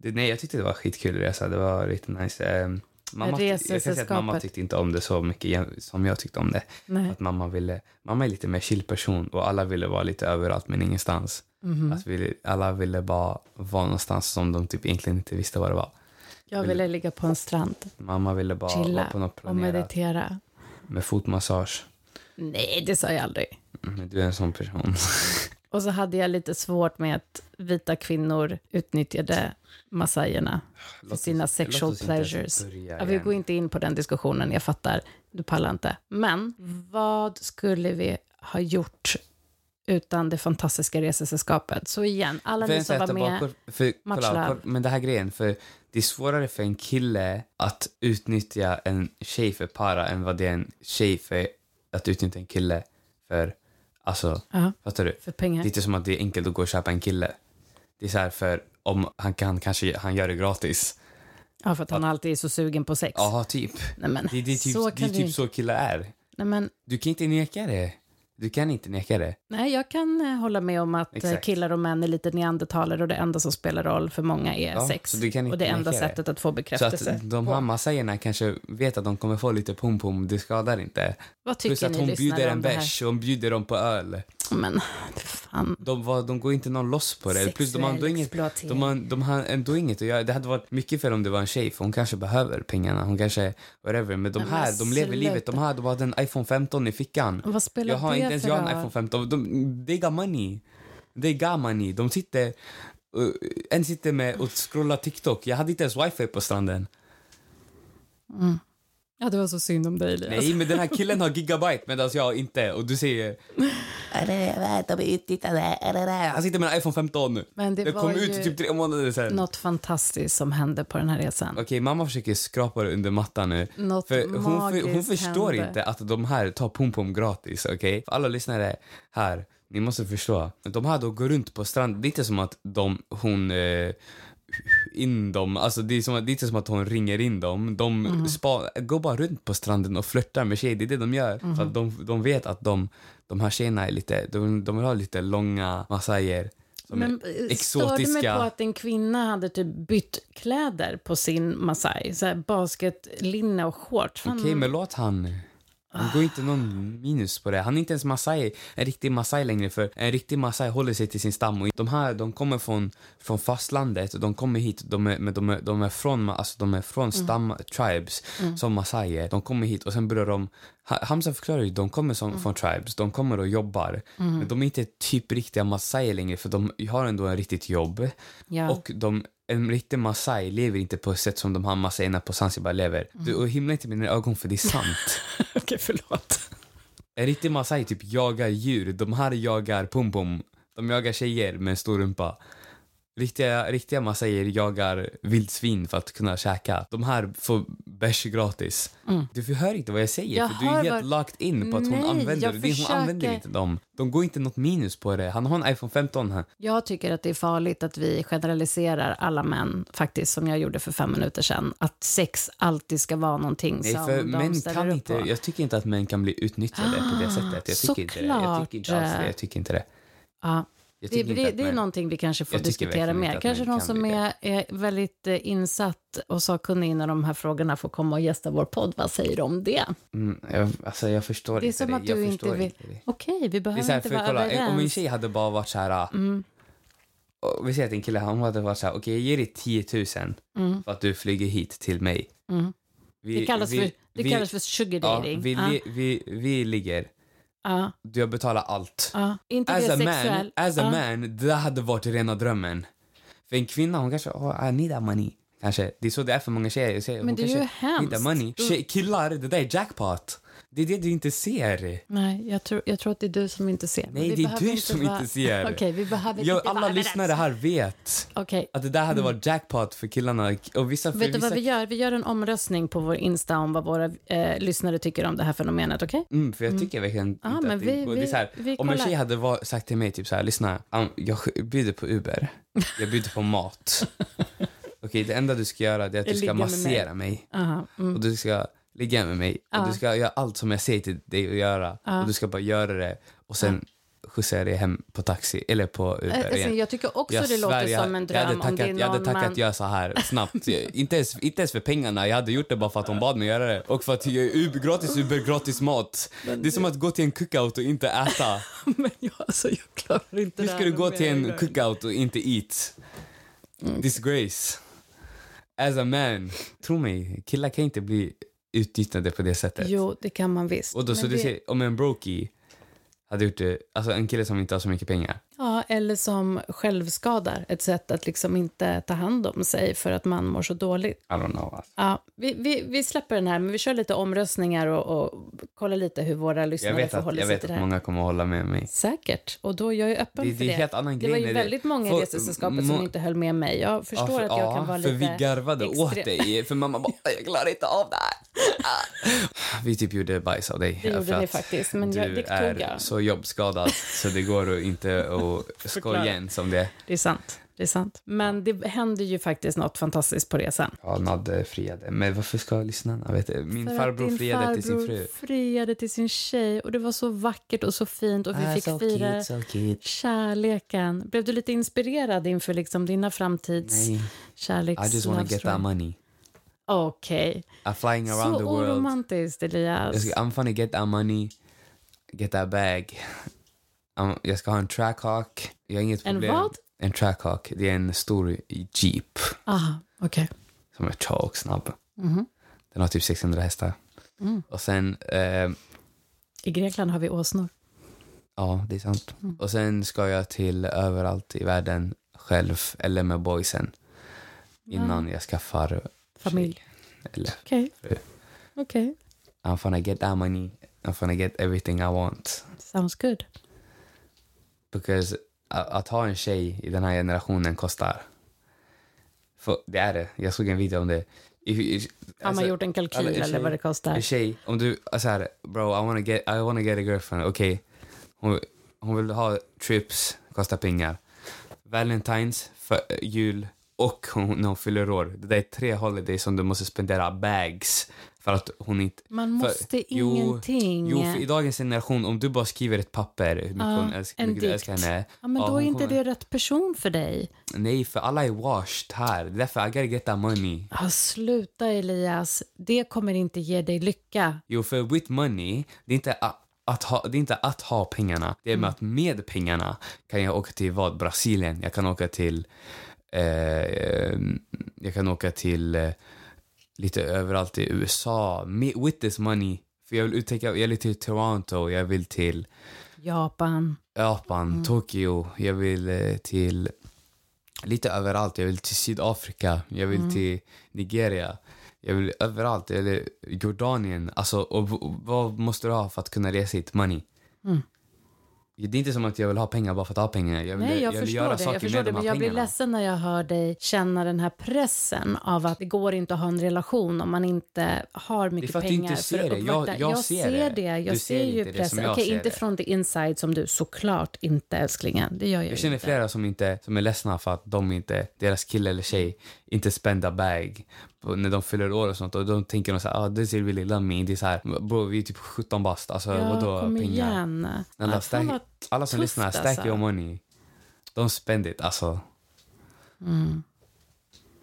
Speaker 2: Det, nej, jag tyckte det var skitkul resa. Det var riktigt nice. Eh, mamma, tyck- jag kan säga att mamma
Speaker 1: Resesällskapet.
Speaker 2: tyckte inte om det så mycket jäm- som jag tyckte om det.
Speaker 1: Nej.
Speaker 2: Att mamma, ville, mamma är lite mer chill person och alla ville vara lite överallt men ingenstans.
Speaker 1: Mhm.
Speaker 2: Att vi, alla ville bara vara någonstans som de typ egentligen inte visste vad det var.
Speaker 1: Jag ville ligga på en strand,
Speaker 2: Mamma ville bara vara på
Speaker 1: chilla
Speaker 2: något
Speaker 1: och
Speaker 2: planerat
Speaker 1: meditera.
Speaker 2: med fotmassage.
Speaker 1: Nej, det sa jag aldrig.
Speaker 2: Men du är en sån person.
Speaker 1: Och så hade jag lite svårt med att vita kvinnor utnyttjade massajerna.
Speaker 2: Låt oss-
Speaker 1: sina
Speaker 2: låt oss
Speaker 1: sexual
Speaker 2: inte ens
Speaker 1: pleasures.
Speaker 2: börja
Speaker 1: Ja, vi
Speaker 2: igen.
Speaker 1: går inte in på den diskussionen, jag fattar. Du pallar inte. Men vad skulle vi ha gjort utan det fantastiska resesällskapet? Så igen, alla ni
Speaker 2: Vänta,
Speaker 1: som var
Speaker 2: äta
Speaker 1: med...
Speaker 2: bakor- för, kolla,
Speaker 1: matchlöv.
Speaker 2: kolla, men det här grejen, för det är svårare för en kille att utnyttja en tjej för para än vad det är en tjej för att utnyttja en kille för, alltså,
Speaker 1: Ja,
Speaker 2: fattar du?
Speaker 1: för
Speaker 2: Det
Speaker 1: pengar.
Speaker 2: är inte som att det är enkelt att gå och köpa en kille. Det är så här för om han kan, kanske, han gör det gratis.
Speaker 1: Ja, för att han alltid är så sugen på sex.
Speaker 2: Jaha, typ.
Speaker 1: Nej, men,
Speaker 2: Det, det är typ,
Speaker 1: så
Speaker 2: det är
Speaker 1: kan du
Speaker 2: typ
Speaker 1: inte.
Speaker 2: så killar är.
Speaker 1: Nej, men,
Speaker 2: Du kan inte neka det. Du kan inte neka det.
Speaker 1: nej, jag kan eh, hålla med om att eh,
Speaker 2: Exakt.
Speaker 1: killar och män är lite neandertalare och det enda som spelar roll för många är
Speaker 2: Ja,
Speaker 1: sex.
Speaker 2: så du kan inte
Speaker 1: och det enda
Speaker 2: neka det.
Speaker 1: sättet att få
Speaker 2: Så
Speaker 1: bekräftelse.
Speaker 2: att de här massajerna kanske vet att de kommer få lite pom-pom, det skadar inte.
Speaker 1: Vad
Speaker 2: Plus
Speaker 1: tycker
Speaker 2: att
Speaker 1: ni
Speaker 2: hon
Speaker 1: lyssnare
Speaker 2: bjuder en
Speaker 1: om det här?
Speaker 2: bärs och hon bjuder dem på öl.
Speaker 1: Men, fan.
Speaker 2: De, var, de går inte någon loss på det. Plus de har ändå
Speaker 1: Sexuell
Speaker 2: inget,
Speaker 1: exploatering.
Speaker 2: de har, de har ändå inget att göra. Det hade varit mycket fel om det var en tjej för hon kanske behöver pengarna. Hon kanske, whatever. Men de
Speaker 1: Nej, men
Speaker 2: här, de lever livet. De här, de hade en iPhone 15 i fickan.
Speaker 1: Vad spelar
Speaker 2: Jag har
Speaker 1: det
Speaker 2: inte ens
Speaker 1: för
Speaker 2: jag en
Speaker 1: roll?
Speaker 2: iPhone 15. De, they got money. They got money. De sitter, uh, en sitter med och scrollar TikTok. Jag hade inte ens wifi på stranden.
Speaker 1: Ja, det var så synd om dig, Elias.
Speaker 2: Nej, men den här killen har gigabyte medan jag inte. Och du säger, han sitter med en iPhone 15.
Speaker 1: Men det
Speaker 2: jag
Speaker 1: var
Speaker 2: kom
Speaker 1: ju
Speaker 2: ut för typ tre månader sedan.
Speaker 1: något fantastiskt som hände på den här resan.
Speaker 2: Okej, mamma försöker skrapa det under mattan nu.
Speaker 1: Något
Speaker 2: för hon, för, hon
Speaker 1: magiskt
Speaker 2: förstår
Speaker 1: hände.
Speaker 2: inte att de här tar pom-pom gratis, okej? För alla lyssnare här, ni måste förstå. De här då går runt på stranden, det är inte som att de, hon eh, in dem, alltså det är, som, att- det är inte som att hon ringer in dem. De
Speaker 1: Mhm.
Speaker 2: spa, går bara runt på stranden och flörtar med tjejer, det är det de gör. För att
Speaker 1: Mhm.
Speaker 2: de, de vet att de, de här tjejerna är lite, de, de vill ha lite långa massajer. Som
Speaker 1: Men
Speaker 2: är
Speaker 1: eh, störde mig på att en kvinna hade typ bytt kläder på sin masai. Så här basketlinne och shorts. Fan,
Speaker 2: Okej, men låt han. Han går inte någon minus på det. Han är inte ens masai, en riktig masai längre för en riktig masai håller sig till sin stam. Och de här de kommer från, från fastlandet och de kommer hit, de är, men de är, de är från, alltså de är från stam tribes som masaier. De kommer hit och sen börjar de, Ha- Hamza förklarar ju, de kommer som, från tribes, de kommer och jobbar. Men de är inte typ riktiga masaier längre för de har ändå en riktigt jobb.
Speaker 1: ja.
Speaker 2: Och de, en riktig masai lever inte på ett sätt som de här masaierna på Zanzibar lever. Du,
Speaker 1: Mm.
Speaker 2: och himla inte med dina ögon för det är sant.
Speaker 1: Okej, förlåt.
Speaker 2: en riktig masai typ jagar djur. De här jagar pom-pom. De jagar tjejer med en stor rumpa. Riktiga, riktiga masaier jagar vildsvin för att kunna käka. De här får bärs gratis. Du förhör inte vad jag säger
Speaker 1: Mm. Jag
Speaker 2: för du är
Speaker 1: hör
Speaker 2: helt
Speaker 1: vad-
Speaker 2: locked in på att
Speaker 1: Nej,
Speaker 2: hon använder
Speaker 1: jag
Speaker 2: det. Det- Hon använder
Speaker 1: försöker-
Speaker 2: inte dem. De går inte något minus på det. Han har en iPhone 15 här.
Speaker 1: Jag tycker att det är farligt att vi generaliserar alla män, faktiskt, som jag gjorde för fem minuter sedan. Att sex alltid ska vara någonting
Speaker 2: Nej,
Speaker 1: som
Speaker 2: för
Speaker 1: de
Speaker 2: män
Speaker 1: ställer
Speaker 2: kan
Speaker 1: upp
Speaker 2: inte,
Speaker 1: på. Ah,
Speaker 2: jag tycker inte att män kan bli utnyttjade på det sättet. Jag tycker inte det. Jag tycker inte alls det. Jag tycker inte det.
Speaker 1: Ja.
Speaker 2: Jag
Speaker 1: Det,
Speaker 2: tycker inte
Speaker 1: det,
Speaker 2: att
Speaker 1: det är
Speaker 2: män-
Speaker 1: någonting vi kanske får
Speaker 2: Jag tycker
Speaker 1: diskutera
Speaker 2: verkligen inte
Speaker 1: mer.
Speaker 2: att
Speaker 1: Kanske
Speaker 2: män
Speaker 1: någon
Speaker 2: kan
Speaker 1: som
Speaker 2: bli
Speaker 1: är, är väldigt eh, insatt och sakkunnig inom de här frågorna får komma och gästa vår podd. Vad säger du om det?
Speaker 2: Mm, jag, alltså jag förstår
Speaker 1: Det är
Speaker 2: inte
Speaker 1: som
Speaker 2: det.
Speaker 1: att
Speaker 2: jag
Speaker 1: du inte
Speaker 2: förstår
Speaker 1: vill...
Speaker 2: inte det.
Speaker 1: Okej, vi
Speaker 2: Det är
Speaker 1: behöver
Speaker 2: så här,
Speaker 1: inte
Speaker 2: för
Speaker 1: vara
Speaker 2: kolla, om min
Speaker 1: överens. Mm.
Speaker 2: tjej hade bara varit så här... ah, Och vi säger att en kille han hade varit så här, okej jag ger dig 10 000 för att du flyger hit till mig. Vi,
Speaker 1: Mm, Det kallas,
Speaker 2: vi-
Speaker 1: för, det
Speaker 2: vi-
Speaker 1: kallas för sugar dating. Ah,
Speaker 2: Ja, vi,
Speaker 1: Ja,
Speaker 2: li, vi, vi ligger,
Speaker 1: ja,
Speaker 2: du har betalat allt.
Speaker 1: ja. ah. Inte
Speaker 2: As
Speaker 1: det
Speaker 2: a, man,
Speaker 1: sexuell. Ah,
Speaker 2: as a
Speaker 1: Ja.
Speaker 2: man, det hade varit rena drömmen. För en kvinna hon kanske, oh, I need that money. Kanske. Det är så det är för många tjejer. Jag säger,
Speaker 1: Men
Speaker 2: hon
Speaker 1: det är ju
Speaker 2: kanske, Need
Speaker 1: hemskt.
Speaker 2: that money. Tjej, killar, det där är jackpot. Det är det du inte ser.
Speaker 1: Nej, jag tror, jag tror att det är du som inte ser. Men
Speaker 2: Nej,
Speaker 1: vi
Speaker 2: det är
Speaker 1: behöver
Speaker 2: du som inte ser.
Speaker 1: Okej, vi behöver
Speaker 2: Jag,
Speaker 1: inte
Speaker 2: alla
Speaker 1: vara
Speaker 2: lyssnare
Speaker 1: överens.
Speaker 2: här vet
Speaker 1: Okej,
Speaker 2: att det där hade varit jackpot för killarna. Och vissa, för
Speaker 1: vet du
Speaker 2: vissa,
Speaker 1: vad vi gör? Vi gör en omröstning på vår Insta om vad våra eh, lyssnare tycker om det här fenomenet, okej?
Speaker 2: Mm, för jag tycker verkligen inte
Speaker 1: Ja, men
Speaker 2: att det
Speaker 1: vi-
Speaker 2: går. Det är så här,
Speaker 1: vi- vi
Speaker 2: om en
Speaker 1: kollar.
Speaker 2: tjej hade var, sagt till mig typ så här, lyssna, um, jag sk- bjuder på Uber, jag bjuder på mat. Okej, det enda du ska göra det är att du
Speaker 1: Ligga
Speaker 2: ska
Speaker 1: med
Speaker 2: massera mig.
Speaker 1: Aha, mm.
Speaker 2: och du ska ligga med mig och du ska göra allt som jag säger till dig att göra och du ska bara göra det och sen skjutsar jag dig hem på taxi eller
Speaker 1: Eh,
Speaker 2: på Uber
Speaker 1: alltså,
Speaker 2: igen.
Speaker 1: jag tycker också det
Speaker 2: svär,
Speaker 1: låter
Speaker 2: jag-
Speaker 1: som en
Speaker 2: jag
Speaker 1: dröm
Speaker 2: hade
Speaker 1: om det
Speaker 2: tackat,
Speaker 1: är någon
Speaker 2: Jag hade tackat
Speaker 1: man...
Speaker 2: jag så här snabbt. Jag- inte, ens, inte ens för pengarna, jag hade gjort det bara för att hon bad mig göra det. Och för att jag är Uber, gratis Uber, gratis mat. Det är som att gå till en cookout och inte äta.
Speaker 1: men jag, alltså, jag klarar inte
Speaker 2: Hur
Speaker 1: det
Speaker 2: ska
Speaker 1: här
Speaker 2: du
Speaker 1: med
Speaker 2: gå
Speaker 1: mer
Speaker 2: till en
Speaker 1: ögon.
Speaker 2: cookout och inte eat? Disgrace. As a man. Tro mig, killar kan inte bli utnyttjade på det sättet.
Speaker 1: Jo, det kan man visst.
Speaker 2: Och då, så
Speaker 1: Men
Speaker 2: du
Speaker 1: det-
Speaker 2: säger, om en brokey hade gjort det, alltså en kille som inte har så mycket pengar.
Speaker 1: Ja, eller som självskadar. Ett sätt att liksom inte ta hand om sig för att man mår så dåligt.
Speaker 2: I don't know. Alltså.
Speaker 1: Ja, vi, vi, vi släpper den här, men vi kör lite omröstningar och, och kollar lite hur våra
Speaker 2: Jag
Speaker 1: lyssnare
Speaker 2: vet att,
Speaker 1: förhåller
Speaker 2: jag
Speaker 1: sig
Speaker 2: vet
Speaker 1: till det
Speaker 2: att
Speaker 1: här.
Speaker 2: många kommer att hålla med mig.
Speaker 1: Säkert, och då är jag ju öppen
Speaker 2: Det,
Speaker 1: för
Speaker 2: det är en helt
Speaker 1: det
Speaker 2: annan grej.
Speaker 1: var
Speaker 2: när
Speaker 1: ju väldigt många i
Speaker 2: För-
Speaker 1: resesällskapet
Speaker 2: må-
Speaker 1: som inte höll med mig. Jag förstår
Speaker 2: Ja, för-
Speaker 1: att jag
Speaker 2: ja,
Speaker 1: kan vara
Speaker 2: för
Speaker 1: lite...
Speaker 2: vi garvade
Speaker 1: extrem.
Speaker 2: åt dig, för mamma bara “jag klarar inte av det här”. Ah. Vi typ gjorde bajs av dig.
Speaker 1: Det
Speaker 2: för
Speaker 1: gjorde ni
Speaker 2: att
Speaker 1: faktiskt, men jag,
Speaker 2: Du
Speaker 1: det tog
Speaker 2: är
Speaker 1: jag.
Speaker 2: så jobbskadad så det går att inte att skoja
Speaker 1: Förklara.
Speaker 2: igen som det.
Speaker 1: Det är sant. Det är sant. Men det hände ju faktiskt något fantastiskt på resan.
Speaker 2: Ja, Nadde friade. Men varför ska lyssnarna veta? Min
Speaker 1: För att
Speaker 2: farbror
Speaker 1: din
Speaker 2: friade till sin
Speaker 1: farbror
Speaker 2: fru.
Speaker 1: friade till sin tjej och det var så vackert och så fint och vi
Speaker 2: Ah,
Speaker 1: fick
Speaker 2: so
Speaker 1: fira
Speaker 2: cute, so cute.
Speaker 1: kärleken. Blev du lite inspirerad inför liksom dina framtids
Speaker 2: Nej, I just wanna get that
Speaker 1: kärlekslöv?
Speaker 2: money.
Speaker 1: Okej.
Speaker 2: I'm flying around the
Speaker 1: Så
Speaker 2: world.
Speaker 1: oromantiskt, Elias.
Speaker 2: Jag ska, I'm gonna get that money, get that bag. Um, jag ska ha en trackhawk. Jag har inget
Speaker 1: En
Speaker 2: problem.
Speaker 1: vad?
Speaker 2: En trackhawk. Det är en stor jeep
Speaker 1: Aha, Ah, okej. Mhm.
Speaker 2: som är choksnabb. Den har typ 600 hästar.
Speaker 1: Mm.
Speaker 2: Och sen, eh,
Speaker 1: I Grekland har vi åsnor.
Speaker 2: ja det är sant.
Speaker 1: Mm.
Speaker 2: Och sen ska jag till överallt i världen själv eller med boysen innan jag skaffar
Speaker 1: Familj.
Speaker 2: tjej. Eller,
Speaker 1: Okej.
Speaker 2: Fru.
Speaker 1: Okej.
Speaker 2: I'm gonna get that money. I'm gonna get everything I want.
Speaker 1: Sounds good.
Speaker 2: Because att, att ha en tjej i den här generationen kostar. För det är det. Jag såg en video om det. If, if,
Speaker 1: Har man gjort en kalkyl
Speaker 2: Alltså, alla- en
Speaker 1: eller vad det
Speaker 2: En
Speaker 1: kostar?
Speaker 2: tjej, om du så här, bro, I wanna get, I wanna get a girlfriend. Okej, hon, hon vill ha trips, kostar pengar. Valentines, för, jul och hon, när hon fyller år. Det där är tre holidays som du måste spendera bags för att hon inte...
Speaker 1: Man
Speaker 2: för-
Speaker 1: måste
Speaker 2: Jo,
Speaker 1: ingenting.
Speaker 2: Jo, för i dagens generation, om du bara skriver ett papper hur mycket,
Speaker 1: Ja,
Speaker 2: hon älskar,
Speaker 1: en
Speaker 2: hur mycket du
Speaker 1: dikt.
Speaker 2: älskar henne.
Speaker 1: ja, men
Speaker 2: ja,
Speaker 1: då
Speaker 2: hon
Speaker 1: är inte
Speaker 2: kommer-
Speaker 1: det rätt person för dig.
Speaker 2: Nej, för alla är washed här. Det är därför I gotta get that money.
Speaker 1: Ah, sluta, Elias. Det kommer inte ge dig lycka.
Speaker 2: Jo, för with money, det är inte a- att ha, det är inte att ha pengarna. Det är med att med pengarna kan jag åka till vad? Brasilien. Jag kan åka till... Eh, eh, jag kan åka till eh, lite överallt i USA. Med, with this money. För jag vill uttäcka, jag vill till Toronto, jag vill till
Speaker 1: Japan.
Speaker 2: Japan,
Speaker 1: Mm.
Speaker 2: Tokyo, jag vill eh, till lite överallt. Jag vill till Sydafrika, jag vill
Speaker 1: Mm.
Speaker 2: till Nigeria, jag vill överallt. Eller
Speaker 1: Mm.
Speaker 2: Jordanien. Alltså, och, v- och, vad måste du ha för att kunna resa hit? Money. Det är inte som att jag vill ha pengar bara för att ha pengar. Jag vill,
Speaker 1: Nej, jag,
Speaker 2: vill
Speaker 1: förstår
Speaker 2: göra
Speaker 1: det.
Speaker 2: saker
Speaker 1: Jag förstår
Speaker 2: med
Speaker 1: det,
Speaker 2: de
Speaker 1: men
Speaker 2: här
Speaker 1: jag blir
Speaker 2: pengarna.
Speaker 1: ledsen när jag hör dig känna den här pressen av att det går inte att ha en relation om man inte har mycket
Speaker 2: för att du
Speaker 1: pengar
Speaker 2: inte ser
Speaker 1: för att
Speaker 2: det. Jag-
Speaker 1: uppvakta.
Speaker 2: jag ser det.
Speaker 1: Jag
Speaker 2: Du
Speaker 1: ser,
Speaker 2: ser
Speaker 1: ju
Speaker 2: inte det som
Speaker 1: pressen.
Speaker 2: jag
Speaker 1: Okej,
Speaker 2: ser
Speaker 1: inte
Speaker 2: det.
Speaker 1: från the inside som du, såklart inte älsklingen. Det gör jag,
Speaker 2: Jag känner
Speaker 1: inte.
Speaker 2: flera som, inte, som är ledsna för att de inte, deras kille eller tjej inte spendar bag på, när de fyller år och sånt. Och då tänker de så här, ah, this is really love me. Det är så här, bro, vi är typ 17 bast. Alltså,
Speaker 1: Ja,
Speaker 2: vadå
Speaker 1: kom
Speaker 2: pengar?
Speaker 1: igen. Ja,
Speaker 2: Alla,
Speaker 1: fan
Speaker 2: stack,
Speaker 1: vad
Speaker 2: alla som
Speaker 1: tufft,
Speaker 2: lyssnar, stack
Speaker 1: alltså.
Speaker 2: your money. Don't spend it, alltså.
Speaker 1: Mm.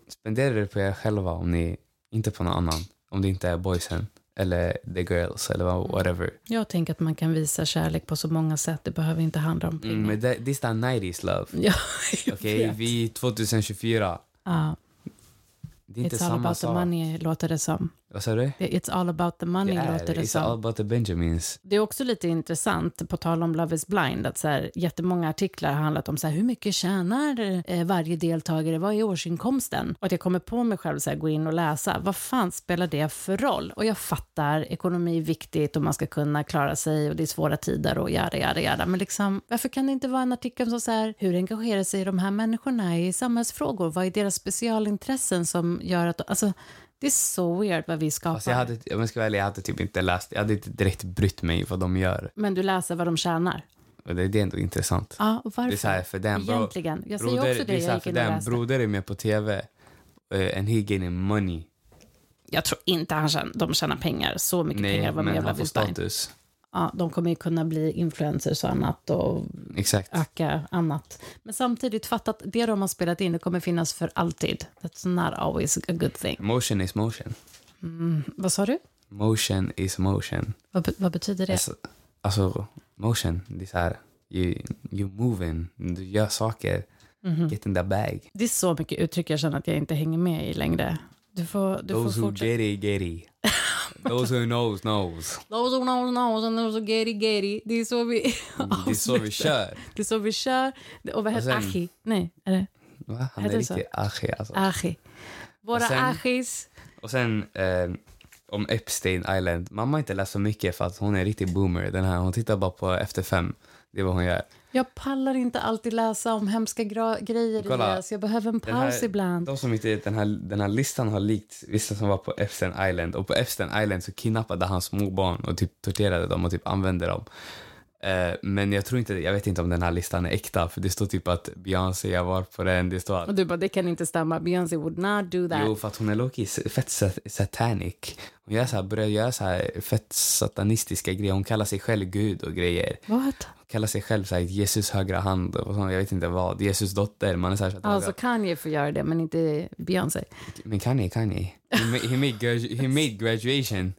Speaker 2: Spendera det på er själva, om ni, inte på någon annan. Om det inte är boysen eller the girls eller
Speaker 1: Mm.
Speaker 2: vad- whatever.
Speaker 1: Jag tänker att man kan visa kärlek på så många sätt. Det behöver inte handla om pengar.
Speaker 2: Mm, men det, this is 90s love.
Speaker 1: Ja, jag
Speaker 2: Okej,
Speaker 1: vet.
Speaker 2: vi är 2024.
Speaker 1: Ja,
Speaker 2: Det är inte
Speaker 1: it's all
Speaker 2: samma
Speaker 1: about the
Speaker 2: sak.
Speaker 1: money, låter det som.
Speaker 2: Vad sa du?
Speaker 1: Det- It's all about the money,
Speaker 2: det är
Speaker 1: låter det
Speaker 2: It's all
Speaker 1: som.
Speaker 2: about the Benjamins.
Speaker 1: Det är också lite intressant, på tal om Love is blind, att så här, jättemånga artiklar har handlat om så här, hur mycket tjänar eh, varje deltagare, vad är årsinkomsten? Och att jag kommer på mig själv så här, gå in och läsa, vad fan spelar det för roll? Och jag fattar, ekonomi är viktigt och man ska kunna klara sig och det är svåra tider och jada, jada, jada. Men liksom, varför kan det inte vara en artikel som så här, hur engagerar sig de här människorna i samhällsfrågor? Vad är deras specialintressen som gör att, alltså, det är så weird vad vi skapar.
Speaker 2: Alltså jag hade, om jag ska välja, jag hade typ inte läst, jag hade inte direkt brytt mig vad de gör.
Speaker 1: Men du läser vad de tjänar?
Speaker 2: Och det, det är ändå intressant.
Speaker 1: Ja, och varför?
Speaker 2: Det är så här för den, bro,
Speaker 1: Egentligen. Jag säger också det,
Speaker 2: är så
Speaker 1: jag
Speaker 2: här
Speaker 1: gick
Speaker 2: för
Speaker 1: in och
Speaker 2: den,
Speaker 1: läste.
Speaker 2: broder är med på tv eh, and he getting money.
Speaker 1: Jag tror inte han tjän- de tjänar pengar, så mycket pengar
Speaker 2: Nej,
Speaker 1: var med
Speaker 2: men han
Speaker 1: Love
Speaker 2: får
Speaker 1: is blind.
Speaker 2: status.
Speaker 1: Ja, de kommer ju kunna bli influencers och annat och
Speaker 2: Exakt.
Speaker 1: öka annat. Men samtidigt, fatta att det de har spelat in, det kommer finnas för alltid. That's not always a good thing.
Speaker 2: Motion is motion.
Speaker 1: Vad sa du?
Speaker 2: Motion is motion.
Speaker 1: Vad, be- vad betyder det?
Speaker 2: Alltså, alltså, motion, det är så här, you, you moving, du gör saker.
Speaker 1: Mhm.
Speaker 2: Get in the bag.
Speaker 1: Det är så mycket uttryck jag känner att jag inte hänger med i längre. Du får, du får
Speaker 2: Those who
Speaker 1: fortsätta.
Speaker 2: get it, get it. Those who knows, knows.
Speaker 1: Those who know, knows and those who get it, get it. Det är så vi
Speaker 2: Mm, Det är så vi kör.
Speaker 1: Det är så vi kör. Och vad heter
Speaker 2: Och sen-
Speaker 1: Achi? Nej, är det?
Speaker 2: Va? Han är
Speaker 1: Heter det så?
Speaker 2: riktigt ashi alltså.
Speaker 1: Achi. Våra
Speaker 2: Och sen-
Speaker 1: Achis.
Speaker 2: Och sen eh, om Epstein Island. Mamma har inte läst så mycket för att hon är en riktig boomer. Den här, hon tittar bara på Efter fem. Det är vad hon gör.
Speaker 1: Jag pallar inte alltid läsa om hemska gra- grejer
Speaker 2: Kolla,
Speaker 1: Elias. Jag behöver en
Speaker 2: Den
Speaker 1: paus
Speaker 2: här-
Speaker 1: ibland.
Speaker 2: De som inte, den, här, den här listan har likt vissa som var på Epstein Island. Och på Epstein Island så kidnappade han småbarn och typ torterade dem och typ använde dem. Eh, men jag tror inte, jag vet inte om den här listan är äkta för det står typ att Beyoncé har varit på den. Det står att
Speaker 1: Och du bara, det kan inte stämma. Beyoncé would not do that.
Speaker 2: Jo, för att hon är Loki, fett sat- satanic. Hon gör så här, börjar göra så här fett satanistiska grejer. Hon kallar sig själv gud och grejer.
Speaker 1: What?
Speaker 2: Hon kallar sig själv så här, Jesus högra hand och sånt, jag vet inte vad. Jesus dotter. Man är så här, så att
Speaker 1: Alltså Kanye får göra det, men inte Beyoncé.
Speaker 2: Men Kanye, Kanye. He made, he made, gradu- he made graduation.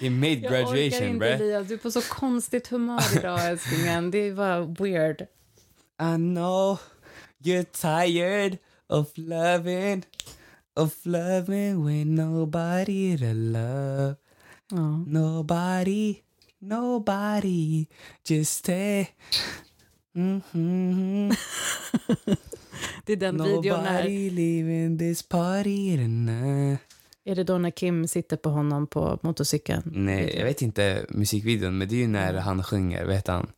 Speaker 2: He made
Speaker 1: Jag orkar
Speaker 2: graduation,
Speaker 1: inte
Speaker 2: bruh.
Speaker 1: Elias, du är på så konstigt humör idag älsklingen. Det var weird.
Speaker 2: I know you're tired of loving of loving when nobody to love.
Speaker 1: Ja.
Speaker 2: Nobody, nobody, just stay. Mhm.
Speaker 1: Det är den videon när,
Speaker 2: Nobody leaving this party tonight.
Speaker 1: är det då när Kim sitter på honom på motorcykeln?
Speaker 2: Nej, jag vet inte musikvideon, men det är ju när han sjunger, vet han?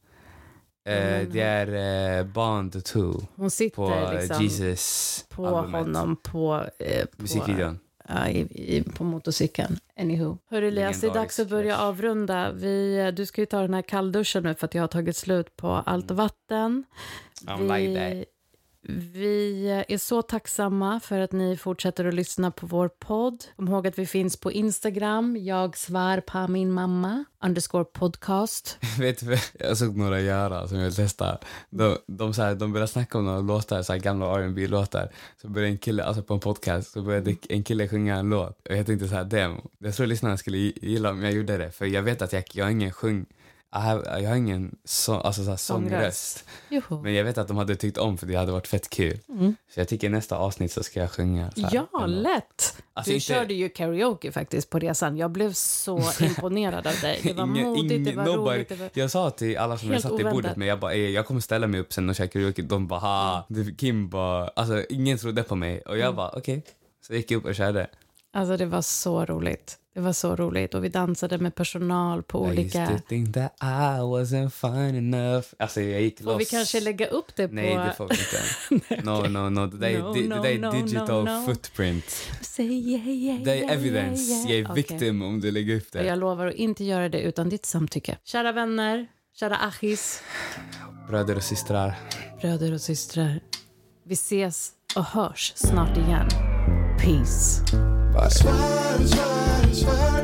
Speaker 2: Eh, det är eh, Bond 2
Speaker 1: Hon sitter
Speaker 2: på eh,
Speaker 1: liksom
Speaker 2: Jesus
Speaker 1: på
Speaker 2: albumet.
Speaker 1: honom på, eh, på
Speaker 2: Musikvideon.
Speaker 1: Ja, i, i, på motorcykeln. Anywho. Hör Elias, det är
Speaker 2: Legendarisk
Speaker 1: dags att börja
Speaker 2: crush.
Speaker 1: avrunda. Vi, du ska ju ta den här kallduschen nu för att jag har tagit slut på
Speaker 2: Mm.
Speaker 1: allt vatten.
Speaker 2: I don't like that.
Speaker 1: vi är så tacksamma för att ni fortsätter att lyssna på vår podd. Kom ihåg att vi finns på Instagram, jag svär på min mamma, underscore podcast.
Speaker 2: Vet du, jag såg några göra som jag testade. De, de, så här, de började snacka om några låtar, så här, gamla rb låtar Så började en kille, alltså på en podcast, så började en kille sjunga en låt. Och jag tänkte så här, damn. Jag tror lyssnarna skulle gi- gilla om jag gjorde det. För jag vet att jag, jag har ingen sjung... I have, jag har ingen så, alltså, så här, sångröst.
Speaker 1: Joho.
Speaker 2: Men jag vet att de hade tyckt om för det hade varit fett kul. Så jag tycker i nästa avsnitt så ska jag sjunga. Så här,
Speaker 1: Mm. Ja,
Speaker 2: en låt.
Speaker 1: lätt!
Speaker 2: Alltså,
Speaker 1: du
Speaker 2: inte-
Speaker 1: körde ju karaoke faktiskt på resan. Jag blev så imponerad av dig. Det var
Speaker 2: Ingen-
Speaker 1: modigt, det
Speaker 2: ingen-
Speaker 1: var
Speaker 2: nobody-
Speaker 1: roligt. Det var...
Speaker 2: Jag sa till alla som jag
Speaker 1: Helt
Speaker 2: satt i
Speaker 1: oväntat.
Speaker 2: bordet med, jag bara, "Ey, jag kommer ställa mig upp sen och käka karaoke. De bara,
Speaker 1: Mm.
Speaker 2: ha, Det- Kim bara, alltså ingen trodde på mig. Och jag bara, okej. Så jag gick upp och körde.
Speaker 1: Alltså det var så roligt. Det var så roligt och vi dansade med personal på
Speaker 2: I used to
Speaker 1: olika...
Speaker 2: think that I wasn't fine enough. Alltså jag gick loss.
Speaker 1: Får vi kanske lägga upp det på...
Speaker 2: Nej, det får vi inte. No, no, no. Det där är,
Speaker 1: No,
Speaker 2: di-
Speaker 1: no,
Speaker 2: det där är
Speaker 1: no,
Speaker 2: digital
Speaker 1: no, no.
Speaker 2: footprint.
Speaker 1: Say yeah, yeah,
Speaker 2: Det
Speaker 1: yeah,
Speaker 2: är evidence.
Speaker 1: yeah, yeah.
Speaker 2: Jag är
Speaker 1: Okej.
Speaker 2: victim om du lägger upp
Speaker 1: Och
Speaker 2: det.
Speaker 1: jag lovar att inte göra det utan ditt samtycke. Kära vänner, kära Achis,
Speaker 2: Bröder och systrar.
Speaker 1: bröder och systrar. Vi ses och hörs snart igen. Peace.
Speaker 3: I swear, I swear, I swear